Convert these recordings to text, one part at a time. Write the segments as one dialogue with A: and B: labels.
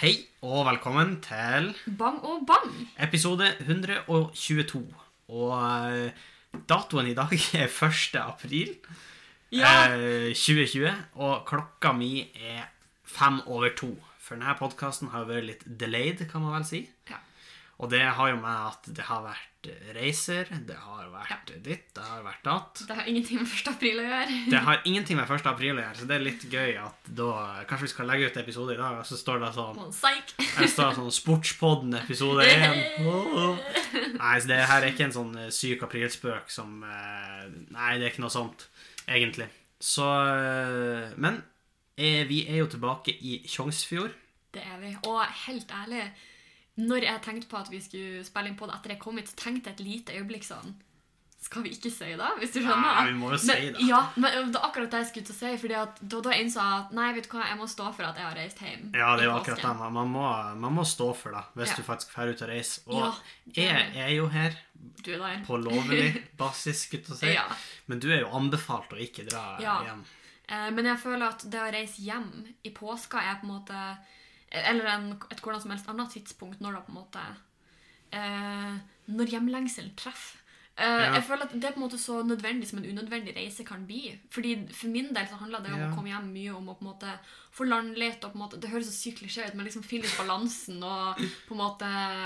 A: Hei og velkommen til
B: Bang og bang!
A: episode 122. Og eh, datoen i dag er 1. april eh, 2020, og klokka mi er fem over to. For denne podkasten har vært litt delayed, kan man vel si.
B: Ja.
A: Og det har jo med at det har vært eh, reiser, det har vært ditt, det har vært datt.
B: Det har ingenting med 1. april å gjøre.
A: Det har ingenting med 1. april å gjøre, så det er litt gøy at da Kanskje vi skal legge ut episode i dag, og så står det sånn
B: Psyk!
A: Her står sånn Sportspodden episode 1. Nei, så det her er ikke en sånn eh, syk aprilspøk som eh, Nei, det er ikke noe sånt, egentlig. Så eh, Men eh, vi er jo tilbake i Tjongsfjord.
B: Det er vi. Og helt ærlig, når jeg tenkte på at vi skulle spille inn på det etter jeg kom hit, så tenkte jeg et lite øyeblikk sånn Skal vi ikke si det? Hvis du skjønner?
A: Nei, vi må jo si
B: Men-
A: det.
B: Ja, men det var akkurat det jeg skulle til å si. fordi at da, da innså jeg at nei, vet du hva, jeg må stå for at jeg har reist hjem.
A: Ja, det er
B: i
A: jo akkurat det.
B: påsken.
A: Man- Man må, man må stå for det hvis
B: Ja.
A: du faktisk drar ut og reiser.
B: Ja,
A: Og
B: det er
A: jeg er jo her
B: Du er der.
A: på lovlig basis, gutt å si.
B: Ja.
A: Men du er jo anbefalt å ikke dra
B: Ja.
A: hjem.
B: Eh, Men jeg føler at det å reise hjem i påska er på en måte Eller en, et hvordan som helst annet tidspunkt når det på en måte eh, Når hjemlengselen treffer. Eh,
A: Ja.
B: Jeg føler at Det er på en måte så nødvendig som en unødvendig reise kan bli. Fordi For min del så handler det om
A: Ja.
B: å komme hjem mye om å på en måte få land litt. Og på en måte, det høres så sykt klisjé ut, men liksom finne ut balansen og på en måte,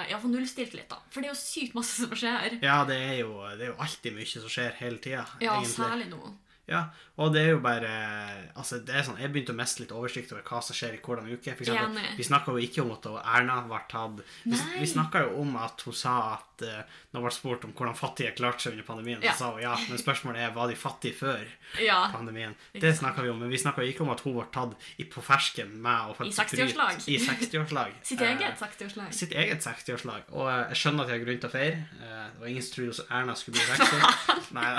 B: ja, få nullstilt litt. da. For det er jo sykt masse som skjer.
A: Ja, det er jo, det er jo alltid mye som skjer hele tida,
B: Ja, særlig nå.
A: Ja, og det er jo bare Altså, det er sånn, jeg begynte å miste litt oversikt over hva som skjer i hvordan uke. For eksempel,
B: Enig.
A: vi snakka jo ikke om at Erna ble tatt Vi,
B: Nei.
A: vi snakka jo om at hun sa at eh, Når hun ble spurt om hvordan fattige klarte seg under pandemien,
B: Ja.
A: så sa hun ja, men spørsmålet er var de fattige før
B: Ja.
A: pandemien.
B: Ikke
A: Det
B: sant.
A: snakka vi om, men vi snakka ikke om at hun ble tatt i, på fersken med å faktisk
B: 60-årslag.
A: bryte- I 60-årslag.
B: Sitt
A: Eh,
B: eget sakteårslag.
A: sitt eget 60-årslag. Og eh, jeg skjønner at jeg har grunn til å feire. Eh, Det var ingen som trodde Erna skulle bli 60. Nei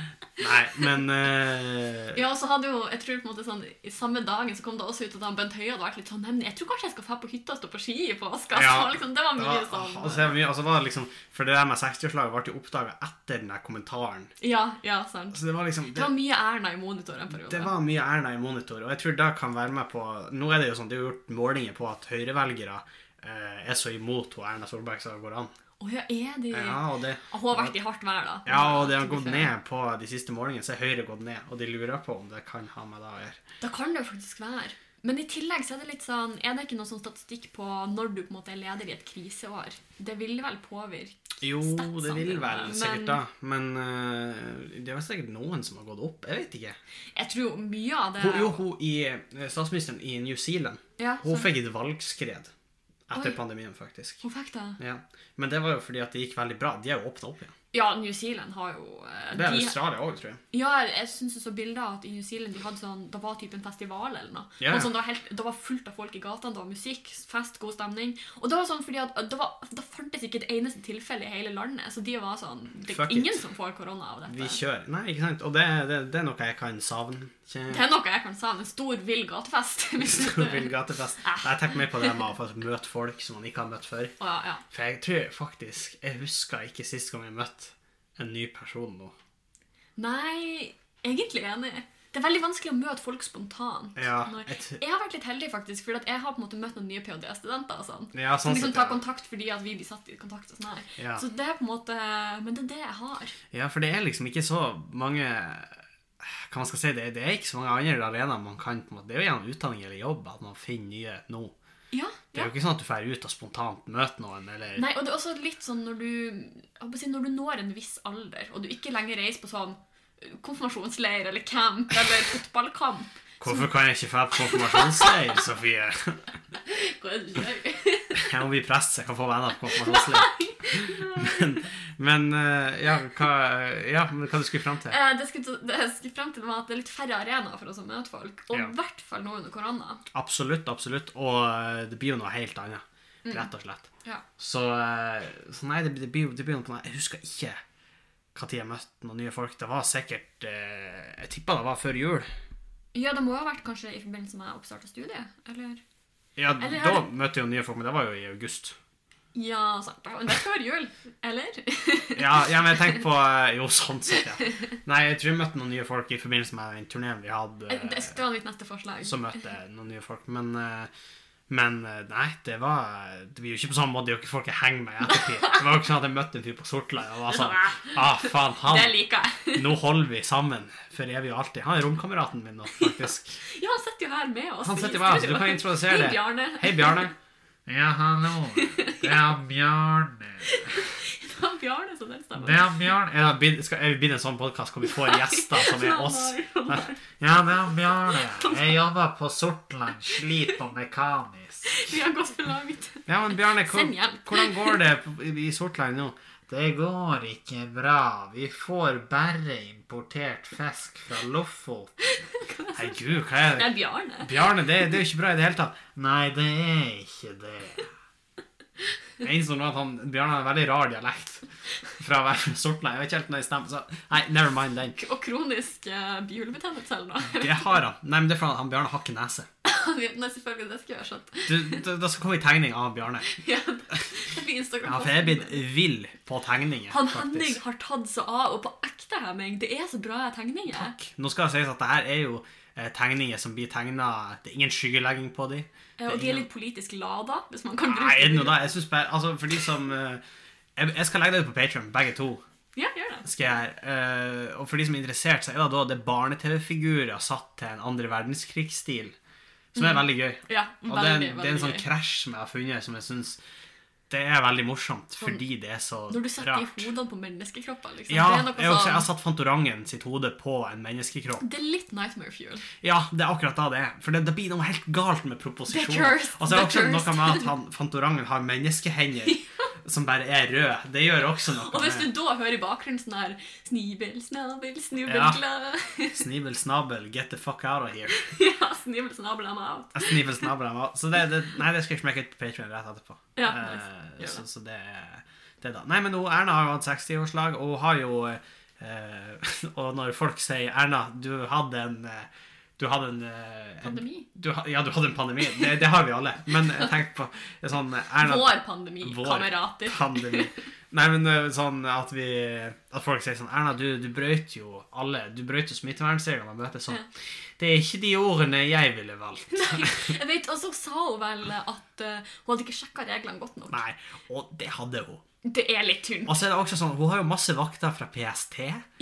A: Nei, men eh,
B: Ja, og så hadde jo, jeg tror på en måte sånn, I samme dagen så kom det også ut at han Bent Høie hadde vært litt sånn «Nei, men Jeg tror kanskje jeg skal dra på hytta og stå på ski i påska.
A: Ja.
B: Så liksom, det var
A: det
B: mye
A: var,
B: sånn
A: altså, det var mye, altså, det var liksom, for det der med 60-årslaget ble jo oppdaga etter den der kommentaren.
B: Ja, ja, sant.
A: Altså, det var liksom
B: Det
A: det,
B: var mye Erna i monitor en
A: det
B: periode.
A: var mye Erna i monitor, og jeg tror det kan være med på Nå er det jo sånn, det er jo gjort målinger på at høyrevelgere eh, er så imot hun Erna Solberg som det går an.
B: Å ja, er de
A: Ja, og det
B: Og Hun har vært i hardt vær, da.
A: Ja, og det har
B: To be
A: gått
B: fair.
A: ned på de siste målingene, så er Høyre gått ned. Og de lurer på om det kan ha med det å gjøre.
B: Da kan det jo faktisk være. Men i tillegg så er det litt sånn, er det ikke noen sånn statistikk på når du på en måte er leder i et kriseår? Det vil vel påvirke?
A: Jo, det vil vel
B: Men-
A: sikkert da, men eh, det er vel sikkert noen som har gått opp. Jeg vet ikke.
B: Jeg tror jo mye av det
A: Hun, jo, hun i, eh, statsministeren i New Zealand,
B: ja,
A: hun
B: sant.
A: fikk et valgskred etter
B: Altså- Oi.
A: pandemien, faktisk.
B: Hun fikk det.
A: Ja. Men det var jo fordi at det gikk veldig bra. De har jo åpna opp igjen.
B: Ja, New Zealand har jo eh,
A: Det er
B: de-
A: Australia òg, tror jeg.
B: Ja, jeg syns jeg så bilder av at i New Zealand de hadde sånn, det var type en festival eller noe.
A: Ja, ja.
B: Og Sånn, det, var helt, det var fullt av folk i gatene, det var musikk, fest, god stemning. Og det var sånn fordi at det, var, det fantes ikke et eneste tilfelle i hele landet, så de var sånn Det
A: Fuck
B: er
A: it.
B: ingen som får korona av
A: Vi
B: dette.
A: kjører. Nei, ikke sant. Og det, det, det er noe jeg kan savne. Kje-
B: Det er noe jeg kan savne. En stor, vill gatefest. hvis du-
A: Storvill gatefest. Jeg tenker mer på det med å faktisk møte folk som man ikke har møtt før.
B: Å, ja, ja.
A: For jeg tror faktisk Jeg husker ikke sist gang jeg møtte en ny person nå.
B: Nei, egentlig enig. Det er veldig vanskelig å møte folk spontant.
A: Ja,
B: når-
A: jeg t-
B: Jeg har vært litt heldig, faktisk, for jeg har på en måte møtt noen nye ph.d.-studenter. og sånn.
A: Ja,
B: Som
A: sånn sett,
B: liksom tar
A: ja.
B: kontakt fordi at vi blir satt i kontakt. og sånn her.
A: Ja.
B: Så det er på en måte, Men det er det jeg har.
A: ja, for det er liksom ikke så mange Hva man skal si, det, det er ikke så mange andre arenaer man kan på en måte, Det er jo gjennom utdanning eller jobb at man finner nye nå.
B: Ja,
A: Det er
B: ja.
A: jo ikke sånn at du drar ut og spontant møter noen, eller
B: Nei, og det er også litt sånn når du jeg håper å si, når du når en viss alder, og du ikke lenger reiser på sånn konfirmasjonsleir eller camp eller fotballkamp
A: Hvorfor kan jeg ikke dra på konfirmasjonsleir, Sofie?
B: Hva er det du gjør?
A: Jeg må bli prest, så jeg kan få venner på konfirmasjonsleir. Men, men eh, ja, hva, ja, men hva du skulle fram til?
B: Eh, Det jeg skulle det jeg skulle frem til var at det er litt færre arenaer for oss å møte folk. Og i
A: Ja.
B: hvert fall nå under korona.
A: Absolutt, absolutt. Og eh, det blir jo noe helt annet, rett og slett.
B: Mm. Ja.
A: Så, eh, så nei, det, det blir jo det blir jo på noe Jeg husker ikke når jeg møtte noen nye folk. Det var sikkert eh, Jeg tippa det var før jul.
B: ja, det må jo ha vært kanskje i forbindelse med oppstart av studiet? Eller?
A: Ja,
B: Eller er
A: da
B: det-
A: møtte jeg jo nye folk, men det var jo i august.
B: Ja, sant. Men det skal være jul. Eller?
A: Ja, ja men jeg tenkte på eh, Jo, sånn sett, ja. Nei, jeg tror jeg møtte noen nye folk i forbindelse med den turneen vi hadde.
B: Det
A: eh,
B: det var mitt neste forslag.
A: Så møtte jeg noen nye folk. Men, eh, Men eh, nei, det var Det blir jo ikke på samme måte. Det er jo ikke folk jeg henger med i ettertid. Det var jo ikke sånn at jeg møtte en fyr på Sortland og var sånn Ah, faen,
B: Det
A: han
B: liker jeg.
A: Nå holder vi sammen for evig og alltid. Han er romkameraten min nå, faktisk.
B: Ja, han sitter jo her med oss.
A: Han
B: i
A: sitter jo her, så du
B: studio.
A: kan introdusere
B: Hei,
A: det.
B: Bjarne.
A: Hei, Bjarne.
C: Ja, hallo. Det er Bjarne.
B: Det var Bjarne som den stemmen.
C: Det er Bjarne.
A: Er det blitt- skal- er vi blitt en sånn podkast hvor vi får gjester som er oss?
C: Ja, det er Bjarne. Jeg jobber på Sortland Slip og Mekanisk.
B: Vi har gått for langt.
A: Ja, men Bjarne, hvor,
B: Send hjelp.
A: hvordan går det på- i- i Sortland nå?
C: Det går ikke bra. Vi får bare importert fisk fra Lofoten.
A: Herregud, hva er
B: Det
A: det?
B: er Bjarne.
A: Bjarne, det, det er jo ikke bra i det hele tatt.
C: Nei, det er ikke det.
A: Jeg innså nå at han, Bjarne har en veldig rar dialekt fra å være fra Sortland. Jeg vet ikke helt når jeg stemmer, så nei, never mind den.
B: Og kronisk uh, bihulebetennelse eller noe.
A: Det har han. Nei, men det er fordi han Bjarne har ikke nese.
B: Nei, selvfølgelig, det skal jeg ha skjønt.
A: Du, da, da skal komme en tegning av Bjarne.
B: Ja, det blir Instagram.
A: Ja, for jeg er blitt vill på tegninger,
B: Han Henning
A: faktisk.
B: har tatt seg av, og på ekte hemming. Det er så bra tegninger.
A: Takk. Nå skal det sies at det her er jo eh, tegninger som blir tegna Det er ingen skyggelegging på dem.
B: Eh, Og de er litt politisk lada, hvis man kan
A: Nei,
B: bruke
A: er det noe da? Jeg synes bare Altså, for de som eh, jeg, jeg skal legge det ut på Patreon, begge to.
B: Ja, gjør det.
A: skal jeg gjøre. Eh, og for de som er interessert, så er det da det barne-TV-figurer satt til en andre verdenskrig-stil. Som er veldig gøy.
B: Ja,
A: Og
B: veldig,
A: det er, en-
B: Mm. veldig
A: det er en sånn
B: gøy.
A: krasj som jeg har funnet, som jeg syns det er veldig morsomt,
B: Sånn-
A: fordi det er så
B: Når du setter
A: rart.
B: i hodene på menneskekropper, liksom.
A: Ja,
B: det er
A: jeg,
B: noe
A: har også, jeg har
B: sånn...
A: satt Fantorangen sitt hode på en menneskekropp.
B: Det er litt nightmare fuel.
A: Ja, det er akkurat da det er. For det, det blir noe helt galt med proposisjonen.
B: cursed,
A: Og så er det også
B: the
A: noe
B: cursed.
A: med at han, Fantorangen har menneskehender som bare er røde. Det gjør også noe
B: Og hvis
A: med
B: du da hører i bakgrunnen sånn her Snivel, snabel, snubbel,
A: Ja.
B: glad
A: Snivel snabel, get the fuck out of here.
B: Ja, snivel, snabel, I'm out.
A: Jeg sniver snabelen av. Så det, det, nei, det skal jeg smekke ut på Patreon rett etterpå.
B: Ja,
A: Eh,
B: nice. Gjør
A: så, så det er det, da. Nei, men hun, Erna har jo hatt 60-årslag, og hun har jo eh, Og når folk sier 'Erna, du hadde en eh, Du hadde en, eh, en
B: Pandemi.
A: Du, ha- ja, du hadde en pandemi. Det, det har vi alle. Men jeg tenkte på det er sånn eh, Erna
B: Vår pandemi,
A: Vår
B: kamerater.
A: pandemi. Nei, men eh, sånn at vi At folk sier sånn Erna, du, du brøt jo alle Du brøt jo smittevernreglene. Og møtes sånn Det er ikke de ordene jeg ville valgt.
B: Jeg vet, Og så sa hun vel at eh, hun hadde ikke sjekka reglene godt nok.
A: Nei, og det hadde hun.
B: Det er litt tynt.
A: Og så er det også sånn, Hun har jo masse vakter fra PST.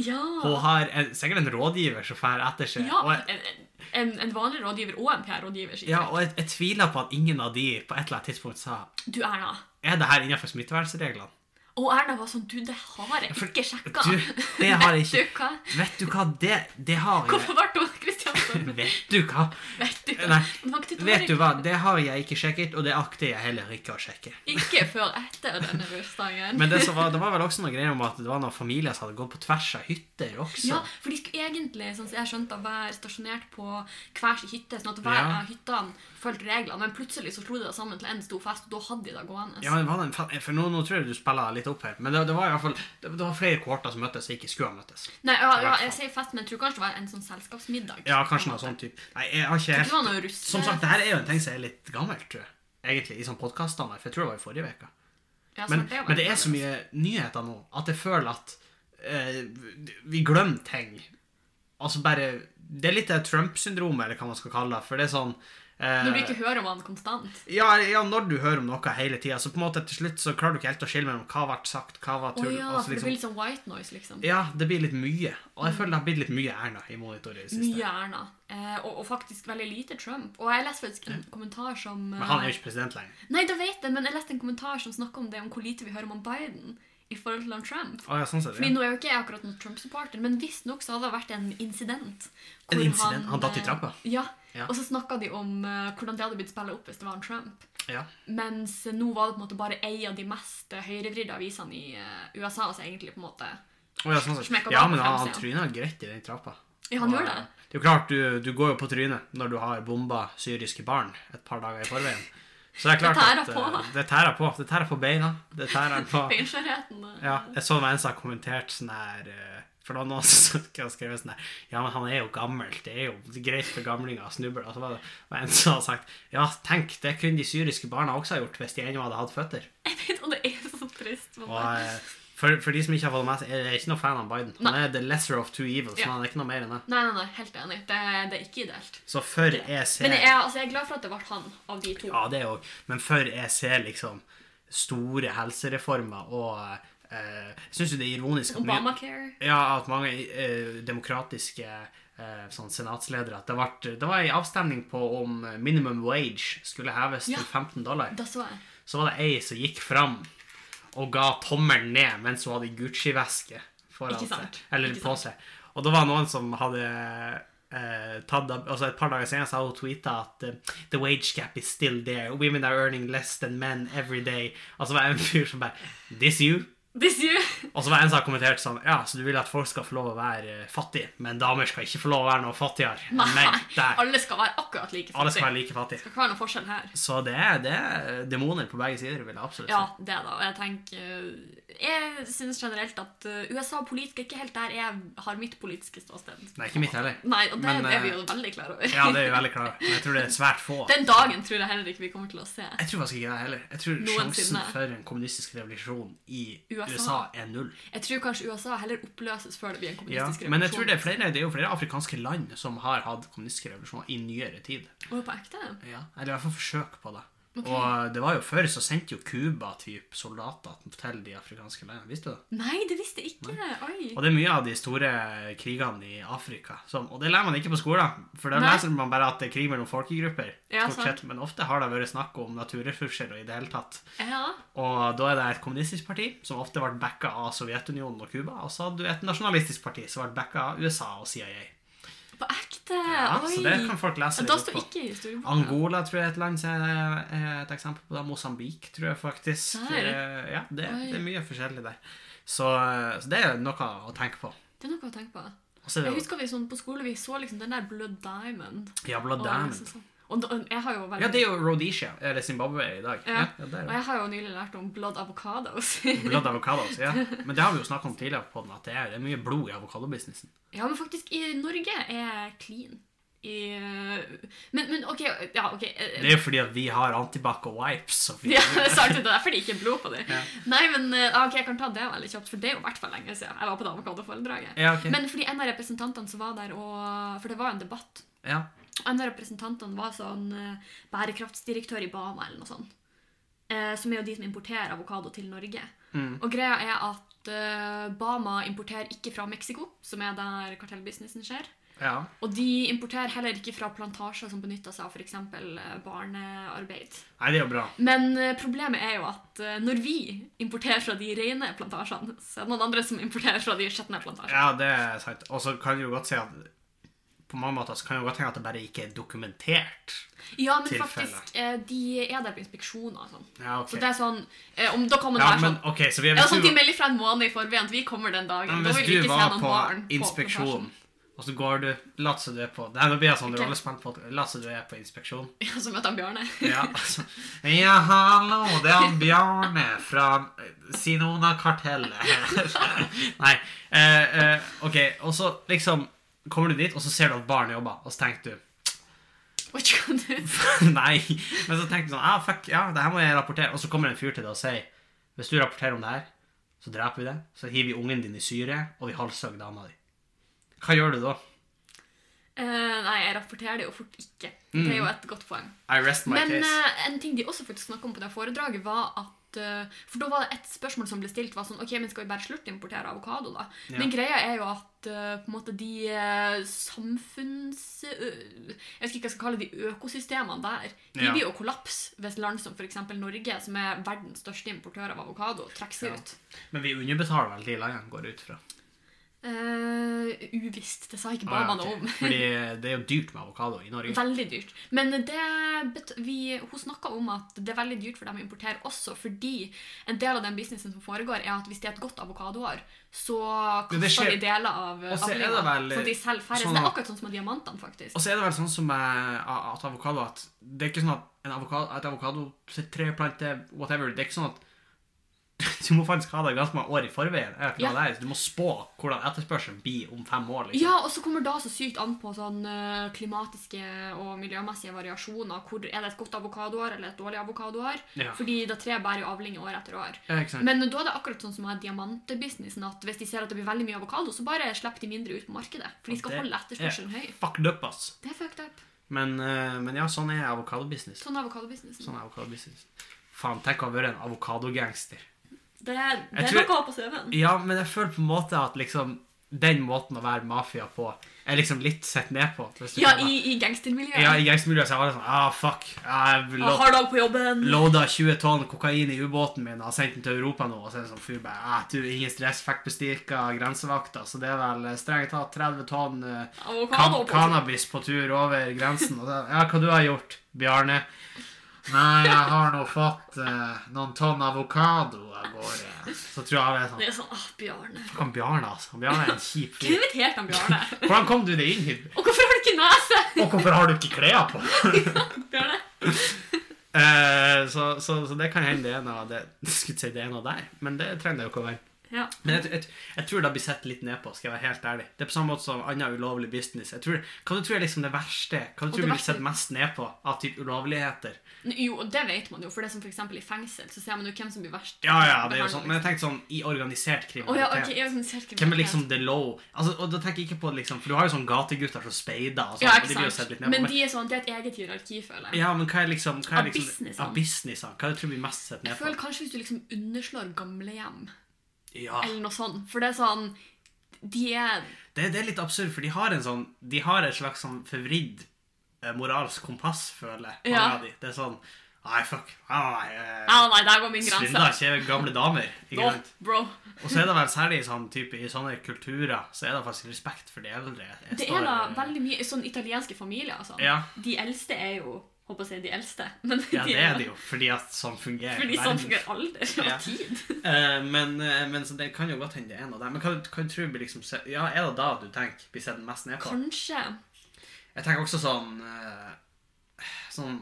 B: Ja.
A: Hun har en, sikkert en rådgiver som drar etter seg.
B: ja
A: Og, jeg,
B: en, en, en vanlig rådgiver og en PR-rådgiver sier
A: ja, og jeg, jeg tviler på at ingen av de på et eller annet tidspunkt sa
B: Du, Erna.
A: er det her innenfor smittevernreglene.
B: Og Erna var sånn Du, det har jeg
A: For-
B: ikke sjekka.
A: Du, det har jeg ikke.
B: Vet
A: Vet
B: du hva?
A: du hva, det, det har jeg
B: Hvorfor ble hun Kristiansand?
A: Vet du hva?
B: Vet du hva?
A: Nei,
B: Men faktisk, det var
A: Vet du hva, det har jeg ikke sjekket, og det akter jeg heller ikke å sjekke.
B: Ikke før etter denne bursdagen.
A: Men det, som var, det var vel også noen greier om at det var noen familier som hadde gått på tvers av hytter også.
B: Ja, for de skulle egentlig, sånn som jeg skjønte, være stasjonert på hver sin hytte. Sånn at hver
A: Ja.
B: av hyttene fulgte reglene. Men plutselig så slo de det sammen til én stor fest, og da hadde de det gående.
A: Ja, men var det en, fa- eh, for nå, nå tror jeg du spiller litt opp her, men det, det var i hvert fall det, det var flere kohorter som møttes som ikke skulle ha møttes.
B: Nei,
A: I
B: ja, ja,
A: hvert fall.
B: jeg sier fest, men jeg tror kanskje det var en sånn selskapsmiddag.
A: Ja, kanskje noe sånn type. Nei, jeg har ikke
B: Det
A: helt
B: var noe russe...
A: Som sagt, det her er jo en ting som er litt gammelt, tror jeg. Egentlig, i sånn podkaststandard, for jeg tror det var i forrige uke.
B: Ja,
A: Men,
B: svart, var
A: men det
B: ikke
A: er så mye nyheter nå at jeg føler at eh, vi glemmer ting. Altså bare Det er litt det Trump-syndromet, eller hva man skal kalle det. For det er sånn eh,
B: Når du ikke hører om han konstant.
A: ja, ja, når du hører om noe hele tida, så på en måte til slutt så klarer du ikke helt å skille mellom hva ble sagt, hva var
B: Å
A: tull.
B: ja,
A: og så
B: for det blir litt sånn white noise, liksom.
A: altså, Ja, det blir litt mye. Og jeg føler det har blitt litt mye Erna i monitoret i det siste.
B: Mye Erna. Eh, og, og faktisk veldig lite Trump. Og jeg leste faktisk en kommentar som eh,
A: Men han er jo ikke president lenger.
B: Nei, da vet jeg, men jeg leste en kommentar som snakka om det, om hvor lite vi hører om han Biden i forhold til han Trump.
A: Å, ja, sånn sett,
B: Fordi
A: ja.
B: nå er jo ikke jeg akkurat noen Trump-supporter, men visstnok så hadde det vært en incident. hvor
A: En incident? Han datt i
B: eh,
A: trappa?
B: Ja.
A: Ja.
B: Og så snakka de om eh, hvordan det hadde blitt spillet opp hvis det var en Trump.
A: ja.
B: Mens nå var det på en måte bare ei av de mest eh, høyrevridde avisene i eh, USA, altså egentlig på en måte
A: Å, ja, sånn sett.
B: Smekka
A: ja
B: bare på
A: men han, han
B: fremsiden.
A: tryna greit i den trappa.
B: Ja, han
A: Og,
B: gjør det.
A: eh, Det er jo klart, du, du går jo på trynet når du har bomba syriske barn et par dager i forveien. Så det er klart
B: tærer
A: at
B: på.
A: eh, Det tærer på. Det tærer på beina. Det tærer på
B: Beinskjørheten. eh.
A: Ja, jeg så en som har kommentert sånn her eh, For det var noen som skrev skrevet sånn her Ja, men han er jo gammel. Det er jo greit for gamlinger å snuble. Og så var det var en som hadde sagt Ja, tenk, det kunne de syriske barna også ha gjort hvis de ennå hadde hatt føtter.
B: Og det er så trist. for
A: Og
B: meg.
A: eh, For, for de som ikke har fått det med seg, jeg er ikke noe fan av Biden. Han
B: Nei.
A: er the lesser of two evils,
B: Ja.
A: men han er ikke noe mer enn det.
B: Nei, nei, nei, helt enig. Det, det er ikke ideelt.
A: Så før jeg ser
B: Men jeg, er- altså, jeg er glad for at det ble han av de to.
A: Ja, det òg. Men før jeg ser liksom store helsereformer og eh, Jeg syns jo det er ironisk at mye-
B: Obamacare.
A: Ja, at mange eh, demokratiske eh, sånn senatsledere at det, ble, det var en avstemning på om minimum wage skulle heves
B: Ja.
A: til 15 dollar.
B: Da så jeg.
A: Så var det ei som gikk fram og ga tommelen ned mens hun hadde Gucci-veske foran
B: Ikke
A: seg.
B: sant.
A: Eller
B: Ikke
A: på seg. Og det var noen som hadde eh, tatt av- altså Et par dager senere så hadde hun tweeta at eh, The wage gap is still there. Women are earning less than men every day. Og så var det en fyr som bare This you?
B: This you.
A: Og så var det en som har kommentert sånn Ja, så du vil at folk skal få lov å være eh, fattige, men damer skal ikke få lov å være noe fattigere enn
B: Nei,
A: menn. Der.
B: alle skal være akkurat like
A: Alle skal
B: fattige.
A: være like fattige.
B: Det kan være noen forskjell her.
A: Så det er, det er demoner på begge sider, vil jeg absolutt si.
B: Ja, det da. Og jeg tenker eh, Jeg syns generelt at eh, USA politisk er ikke helt der jeg har mitt politiske ståsted.
A: Nei, ikke mitt heller.
B: Nei, og det
A: Men,
B: er vi
A: eh,
B: jo veldig klar over.
A: Ja, det er vi veldig klar over. Men jeg tror det er svært få.
B: Den dagen tror jeg heller ikke vi kommer til å se.
A: Jeg tror faktisk ikke det heller. Jeg tror sjansen
B: Noensinne.
A: for en kommunistisk revolusjon i
B: USA.
A: USA er null.
B: Jeg tror kanskje USA heller oppløses før det blir en
A: Ja,
B: kommunistisk revolusjon.
A: men jeg tror det er, flere, det er jo flere afrikanske land som har hatt kommunistiske revolusjoner i nyere tid.
B: Å, på ekte?
A: Ja, eller i hvert fall forsøk på det.
B: Ok.
A: Og det var jo før så sendte jo Cuba typ soldater til de afrikanske landene. Visste du det?
B: Nei, det visste jeg ikke. Oi.
A: Og det er mye av de store krigene i Afrika. Som, og det lærer man ikke på skolen. For der
B: Nei.
A: leser man bare at det er krig mellom folkegrupper.
B: Ja,
A: stort
B: sant.
A: sett. Men ofte har det vært snakk om naturressurser og i det hele tatt.
B: Ja.
A: Og da er det et kommunistisk parti som ofte ble backa av Sovjetunionen og Cuba. Og så hadde du et nasjonalistisk parti som ble backa av USA og CIA.
B: På ekte?
A: Ja,
B: Oi.
A: så det kan folk lese litt
B: da
A: opp
B: står
A: på.
B: ikke i historieboka.
A: Angola tror jeg er et land som er er et eksempel på det. Mosambik tror jeg faktisk.
B: Der.
A: Eh, Ja, det,
B: Ah, Oi.
A: det er mye forskjellig der. Så, eh, så det er jo noe å tenke på.
B: Det er noe å tenke på.
A: Og så er det
B: Jeg
A: jo
B: husker vi sånn på skole vi så liksom den der Blood Diamond.
A: Jabla
B: Og liksom
A: Diamond.
B: sånn- Og da, jeg har jo veldig...
A: Ja, det er jo Rhodesia, eller Zimbabwe i dag.
B: Ja.
A: der
B: Og
A: er det.
B: jeg har jo nylig lært om Blood Avocados.
A: Blood avocados, ja. Men det har vi jo snakket om tidligere på den, at det er, det er mye blod i avokadobusinessen.
B: ja, men faktisk, i Norge er clean. I, øh, men, men OK, ja, ok. eh,
A: Det er jo fordi at vi har antibac og wipes. Og vi,
B: Ja, det er sant, det er derfor det ikke er blod på dem. Nei, men eh, ok, jeg kan ta det veldig kjapt, for det er jo i hvert fall lenge siden jeg var på det avokadoforedraget.
A: Ja, ok.
B: Men fordi en av representantene som var der, og, for det var en debatt,
A: ja.
B: og en av representantene var sånn eh, bærekraftsdirektør i Bama eller noe sånt, eh, som er jo de som importerer avokado til Norge.
A: Mm.
B: Og greia er at eh, Bama importerer ikke fra Mexico, som er der kartellbusinessen skjer.
A: ja.
B: Og de importerer heller ikke fra plantasjer som benytter seg av f.eks. barnearbeid.
A: Nei, det er jo bra.
B: Men eh, problemet er jo at eh, når vi importerer fra de rene plantasjene, så er det noen andre som importerer fra de skjetne plantasjene.
A: Ja, det er sant. Og så kan jeg jo godt si at på mange måter så kan jeg jo godt tenke at det bare ikke er dokumentert.
B: Ja, men
A: tilfelle.
B: faktisk, eh, de er der på inspeksjoner og sånn.
A: Ja, ok.
B: Så det er sånn eh, om, Da kan man
A: Ja,
B: være
A: men
B: sånn
A: ok, så vi
B: ja,
A: hvis
B: sånn,
A: du-
B: De melder fra en måned i forveien at vi kommer den dagen.
A: Men
B: da
A: hvis
B: vil vi
A: du
B: ikke se
A: var
B: noen
A: på
B: barn på
A: inspeksjon,
B: plantasjen.
A: og så går du Lat som du er på Det her nå blir jeg sånn
B: Ok.
A: rollespent på Lat som du er på inspeksjon.
B: Ja, så møter han Bjarne.
A: Ja, altså.
C: Ja, hallo, det er han Bjarne fra Sinona-kartellet.
A: Nei. Eh, eh, OK, og så liksom kommer du dit, og så ser du at barnet jobber, og så tenker du
B: Oi, kan du-
A: Nei. Men så tenker du sånn ah, Fuck, ja, det her må jeg rapportere. Og så kommer det en fyr til deg og sier Hvis du rapporterer om det her, så dreper vi deg, så hiver vi ungen din i syre, og vi halshogger dama di. Hva gjør du da?
B: Eh, nei, jeg rapporterer det jo fort ikke. Det
A: Mm.
B: er jo et godt poeng.
A: I rest my
B: Men
A: case.
B: eh, en ting de også faktisk snakket om på det foredraget, var at eh, For da var det et spørsmål som ble stilt, var sånn OK, men skal vi bare slutte å importere avokado, da?
A: Ja.
B: Men greia er jo at eh, på en måte de eh, samfunns... ø- jeg vet ikke hva jeg skal kalle de økosystemene der. De
A: Ja.
B: blir jo kollaps hvis land som f.eks. Norge, som er verdens største importør av avokado, trekker seg
A: Ja.
B: ut.
A: Men vi underbetaler vel de landene, går jeg ut fra.
B: Eh, uvisst. Det sa ikke
A: Ah, ja,
B: Bama
A: ok.
B: noe om.
A: Fordi det er jo dyrt med avokado i Norge.
B: Veldig dyrt. Men det bet vi, hun snakka om at det er veldig dyrt for dem å importere også, fordi en del av den businessen som foregår, er at hvis det er et godt avokadoår, så
A: Men det
B: kaster
A: skjer-
B: de deler av
A: Og så er det
B: avlinga,
A: vel-
B: sånn at de selger færre.
A: sånn
B: Så det er
A: at-
B: akkurat sånn som med diamantene, faktisk.
A: Og så er det vel sånn som med a- at avokado at det er ikke sånn at en avokado, et avokadotre, plante, whatever, det er ikke sånn at Du må faktisk ha det ganske mange år i forveien. Jeg vet ikke
B: Ja.
A: hva det er. Du må spå hvordan etterspørselen blir om fem år. liksom.
B: Ja, og så kommer det da så sykt an på sånn eh, klimatiske og miljømessige variasjoner. Hvor, er det et godt avokadoår eller et dårlig avokadoår?
A: Ja.
B: Fordi da tre bærer jo avlinger år etter år.
A: Ja, ikke sant?
B: Men da er det akkurat sånn som med diamantbusinessen, at hvis de ser at det blir veldig mye avokado, så bare slipper de mindre ut på markedet. For de
A: Og
B: skal
A: det
B: holde etterspørselen høy.
A: Fucked up, ass.
B: Det er fucked up.
A: Men, eh, men ja, sånn er avokadobusiness.
B: Sånn er avokadobusinessen.
A: Sånn er avokadobusiness. Faen, tenk å være en avokadogangster.
B: Det, er- det er
A: Jeg tror-
B: noe å ha på CV-en.
A: Ja, men jeg føler på en måte at liksom den måten å være mafia på er liksom litt sett ned på. hvis du
B: Ja,
A: skjønner.
B: i, i gangstermiljøet.
A: ja, I gangstermiljøet så er alle sånn Ah, fuck. Jeg
B: Ah,
A: lo
B: Hard dag på jobben.
A: loada 20 tonn kokain i ubåten min og har sendt den til Europa nå. Og så er det sånn fyr bare ah, Du, ingen stress. Fikk bestirka grensevakta, så det er vel eh, strengt tatt 30 tonn eh,
B: Avokado
A: kan
B: på
A: cannabis på tur over grensen. Og så, ja, hva du har gjort, Bjarne?
C: Nei, jeg har nå fått eh, noen tonn avokado av gårde.
A: Så tror jeg alle er sånn
B: Det er sånn, ah, Bjarne.
A: Fuck han Bjarne, altså. Han Bjarne er en kjip
B: Hvem
A: fyr.
B: inviterte han Bjarne?
A: Hvordan kom du deg inn hit?
B: Og hvorfor har du ikke nese?
C: Og hvorfor har du ikke klær på?
B: Bjarne?
A: Eh, så, så, så det kan hende det er noe av det, skulle si det er noe der, men det trenger det jo ikke å være.
B: Ja.
A: Men jeg, jeg, jeg tror det blir sett litt ned på, skal jeg være helt ærlig. Det er på samme måte som annen ulovlig business. Jeg tror, hva du tror er liksom det verste? Hva du
B: Og
A: tror
B: det
A: blir
B: verste-
A: sett mest ned på av typ ulovligheter?
B: Jo, og det vet man jo, for det er som for eksempel i fengsel, så ser man jo hvem som blir verst.
A: Ja, ja, det er jo sånn, men jeg tenkte sånn i organisert
B: Å ja, ok,
A: kriminalitet.
B: jeg er sånn cirka-
A: Hvem er liksom the low? Altså, og da tenker jeg ikke på det liksom, for du har jo sånn gategutter som speider og sånn,
B: Ja,
A: og de
B: ikke
A: blir jo sett
B: sant.
A: litt ned på.
B: Men
A: Men,
B: de er sånn, det er et eget hierarki, føler jeg.
A: ja, men hva er liksom, hva
B: Av
A: er liksom
B: businessene.
A: av businessene? Hva er det du tror blir mest sett ned
B: Jeg
A: på?
B: føler kanskje hvis du liksom underslår gamlehjem,
A: Ja.
B: eller noe sånt. For det er sånn De er
A: Det, det er litt absurd, for de har en sånn De har et slags sånn forvridd eh, moralsk kompass, føler jeg. mange
B: Ja.
A: av de. Det er sånn Nei, fuck. Nei, nei, nei,
B: Ja, nei, der går min
A: eh,
B: grense.
A: Svindler ikke gamle damer. Ikke
B: Nå,
A: sant?
B: bro.
A: Og så er det vel særlig i sånn, type, i sånne kulturer så er det faktisk respekt for de eldre. Jeg
B: Det
A: står-
B: er da veldig mye sånn italienske familier, altså.
A: Ja.
B: De eldste er jo Håper jeg å si de eldste, men
A: ja, det er det jo, fordi at sånn fungerer
B: Fordi
A: verden.
B: sånn fungerer alder og
A: Ja.
B: tid.
A: Eh, men, eh, men så det kan jo godt hende det er en av dem. Men hva, hva tror du blir liksom se- Ja, er det da du tenker blir sett mest ned på?
B: Kanskje
A: Jeg tenker også sånn eh, Sånn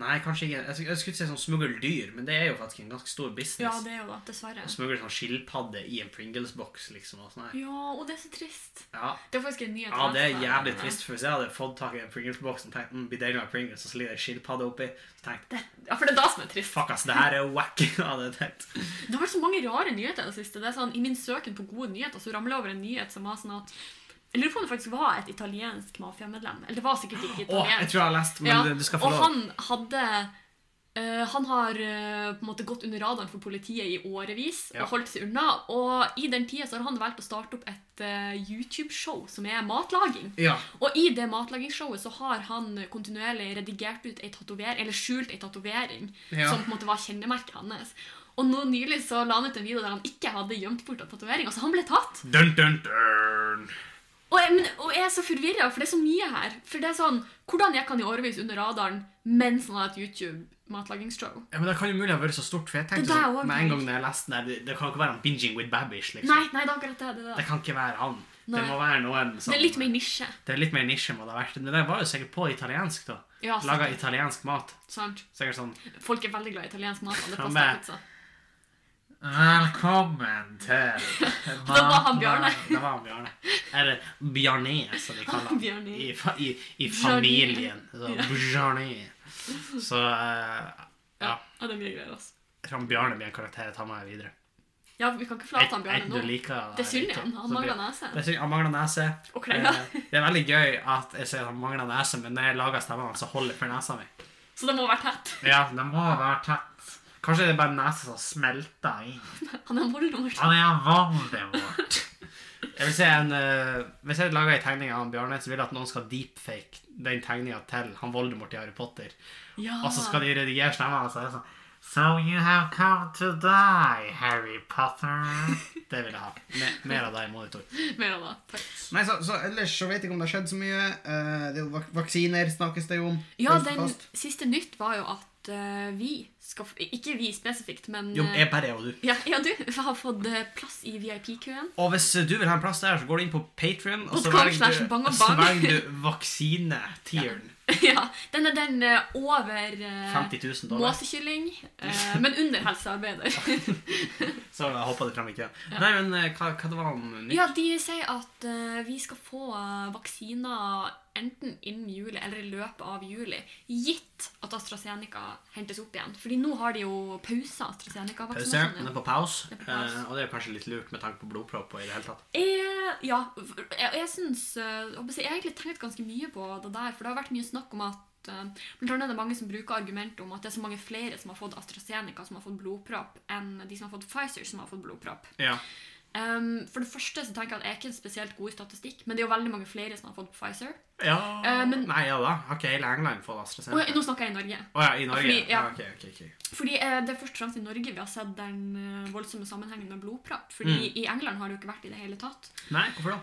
A: Nei, kanskje ikke Jeg, sk- jeg skulle ikke si sånn smuglerdyr, men det er jo faktisk en ganske stor
B: Ja,
A: business.
B: det er jo det. Dessverre.
A: Å smugle sånn skilpadde i en Pringles-boks, liksom. Og sånn her.
B: Ja, og det er så trist.
A: Ja.
B: Det er faktisk en nyhet.
A: ja, det er
B: jeg leste.
A: jævlig trist. For hvis jeg hadde fått tak i en Pringles-boks og tenkt mm, blir deilig med Pringles, og så ligger det en skilpadde oppi, så tenkte jeg
B: Det, ja, for det er da som er trist.
A: fuck, ass, det her er jo wack. hadde jeg tenkt.
B: Det har vært så mange rare nyheter i det siste. Det er sånn, I min søken på gode nyheter så ramler jeg over en nyhet som var sånn at Jeg lurer på om det faktisk var et italiensk mafiamedlem. Eller det var sikkert
A: Å,
B: ikke
A: jeg
B: italiensk.
A: tror jeg har lest, men
B: Ja,
A: du skal få
B: og
A: lov.
B: han hadde eh, han har eh, på en måte gått under radaren for politiet i årevis
A: Ja.
B: og holdt seg unna. Og i den tida så har han valgt å starte opp et eh, YouTube-show som er matlaging.
A: Ja.
B: Og i det matlagingsshowet så har han kontinuerlig redigert ut ei tatovering, eller skjult ei tatovering,
A: Ja.
B: som på en måte var kjennemerket hans. Og nå nylig så la han ut en video der han ikke hadde gjemt bort en tatovering. Altså, han ble tatt.
A: Dun, dun, dun.
B: Og jeg, men, og jeg er så forvirra, for det er så mye her. For det er sånn, Hvordan gikk han i årevis under radaren mens han hadde et YouTube-matlagingshow?
A: Ja, men Det kan jo mulig ha vært så stort, for jeg tenkte
B: Det der
A: sånn,
B: også,
A: med en
B: tenk.
A: gang da jeg leste den der, det, det kan jo ikke være han binging with babish, liksom.
B: Nei, nei, det er akkurat det. Det, er
A: Det
B: det.
A: kan ikke være han. Det
B: Nei.
A: må være noen som
B: det er litt mer nisje.
A: Det er litt mer nisje må det ha vært. Men det var jo sikkert på italiensk, da.
B: Ja,
A: Laga
B: sant.
A: italiensk mat.
B: sant.
A: Sikkert sånn
B: Folk er veldig glad i italiensk mat. altså. og Det
A: Ja,
B: passer
A: men-
B: pizza.
C: Velkommen til
B: Da var han Bjarne.
A: Det var han Bjarne. Eller Bjarné, som de kaller han.
B: Bjarne.
A: I, fa i, i
B: Bjarne.
A: familien. Så,
B: Ja.
A: Bjarne. Så eh,
B: Ja.
A: ja.
B: ja, det er mye greier, altså.
A: Jeg tror han Bjarne blir en karakter jeg tar med meg videre.
B: Ja, vi kan ikke forlate han Bjarne
A: Enten du
B: nå.
A: liker det
B: Det er synd i
A: eller ikke,
B: han.
A: så
B: Han
A: blir-
B: mangler nese.
A: Det er synd, Han mangler nese.
B: Og
A: Eh,
B: klenga.
A: Det er veldig gøy at jeg sier at han mangler nese, men når jeg lager stemmen hans, så holder jeg for nesa mi.
B: Så det må være tett.
A: Ja,
C: Det må være tett.
A: Kanskje det er bare nesa som smelter inn.
B: Han er
A: Ah,
B: Voldemort.
C: Han er en Voldemort.
A: Jeg vil si en, eh, Hvis jeg lager en tegning av han Bjarne, så vil jeg at noen skal deepfake den tegninga til han Voldemort i Harry Potter.
B: Ja.
A: Og så skal de redigere stemmen hans. og det er sånn,
C: So you have come to die, Harry Potter.
A: Det vil jeg ha. Mer- Mer av det i monitor.
B: Mer av det. Takk.
A: Nei, så, Ellers så Eh, vet jeg ikke om det har skjedd så mye. vaksiner snakkes det jo om.
B: Ja, den siste nytt var jo at at eh, vi skal f- Ikke vi spesifikt, men
A: Jo,
B: eh,
A: jeg bare er og du.
B: ja, ja, du har fått eh, plass i VIP-køen.
A: Og hvis du vil ha en plass der, så går du inn på Patrion, og så
B: Podcast
A: velger
B: slash bang
A: du,
B: og
A: så
B: bang.
A: velger du vaksine-tieren.
B: ja, den er den eh, over eh,
A: 50 000 dollar.
B: måsekylling, eh, men under helsearbeider.
A: Så jeg hoppa det frem i køen. Nei, men eh, hva, hva det var om nytt?
B: ja, de sier at eh, vi skal få eh, vaksiner enten innen juli eller i løpet av juli, gitt at AstraZeneca hentes opp igjen. Fordi nå har de jo
A: Pause.
B: pausa
A: Den
B: AstraZeneca-vaksinasjonen.
A: er på pause.
B: Den sånn, er på pause.
A: eh, og det er kanskje litt lurt med tanke på blodpropp og i det hele tatt.
B: Eh, ja, for- jeg, jeg syns eh, hva skal Jeg si, jeg har egentlig tenkt ganske mye på det der, for det har vært mye snakk om at eh, Blant annet er det mange som bruker argumentet om at det er så mange flere som har fått AstraZeneca som har fått blodpropp, enn de som har fått Pfizer som har fått blodpropp.
A: Ja.
B: Ehm, for det første så tenker jeg at jeg er ikke spesielt god i statistikk, men det er jo veldig mange flere som har fått Pfizer.
A: ja.
B: Eh, men-
A: Nei, ja da. Har ikke hele England fått
B: Å, ja,
A: AstraZeneca?
B: nå snakker jeg i Norge.
A: Å ja, i Norge?
B: Fordi- ja.
A: ja. ok, ok, ok.
B: Fordi eh, Det er først og fremst i Norge vi har sett den eh, voldsomme sammenhengen med blodpropp. Fordi
A: Mm.
B: i England har det jo ikke vært i det hele tatt.
A: Nei, hvorfor da?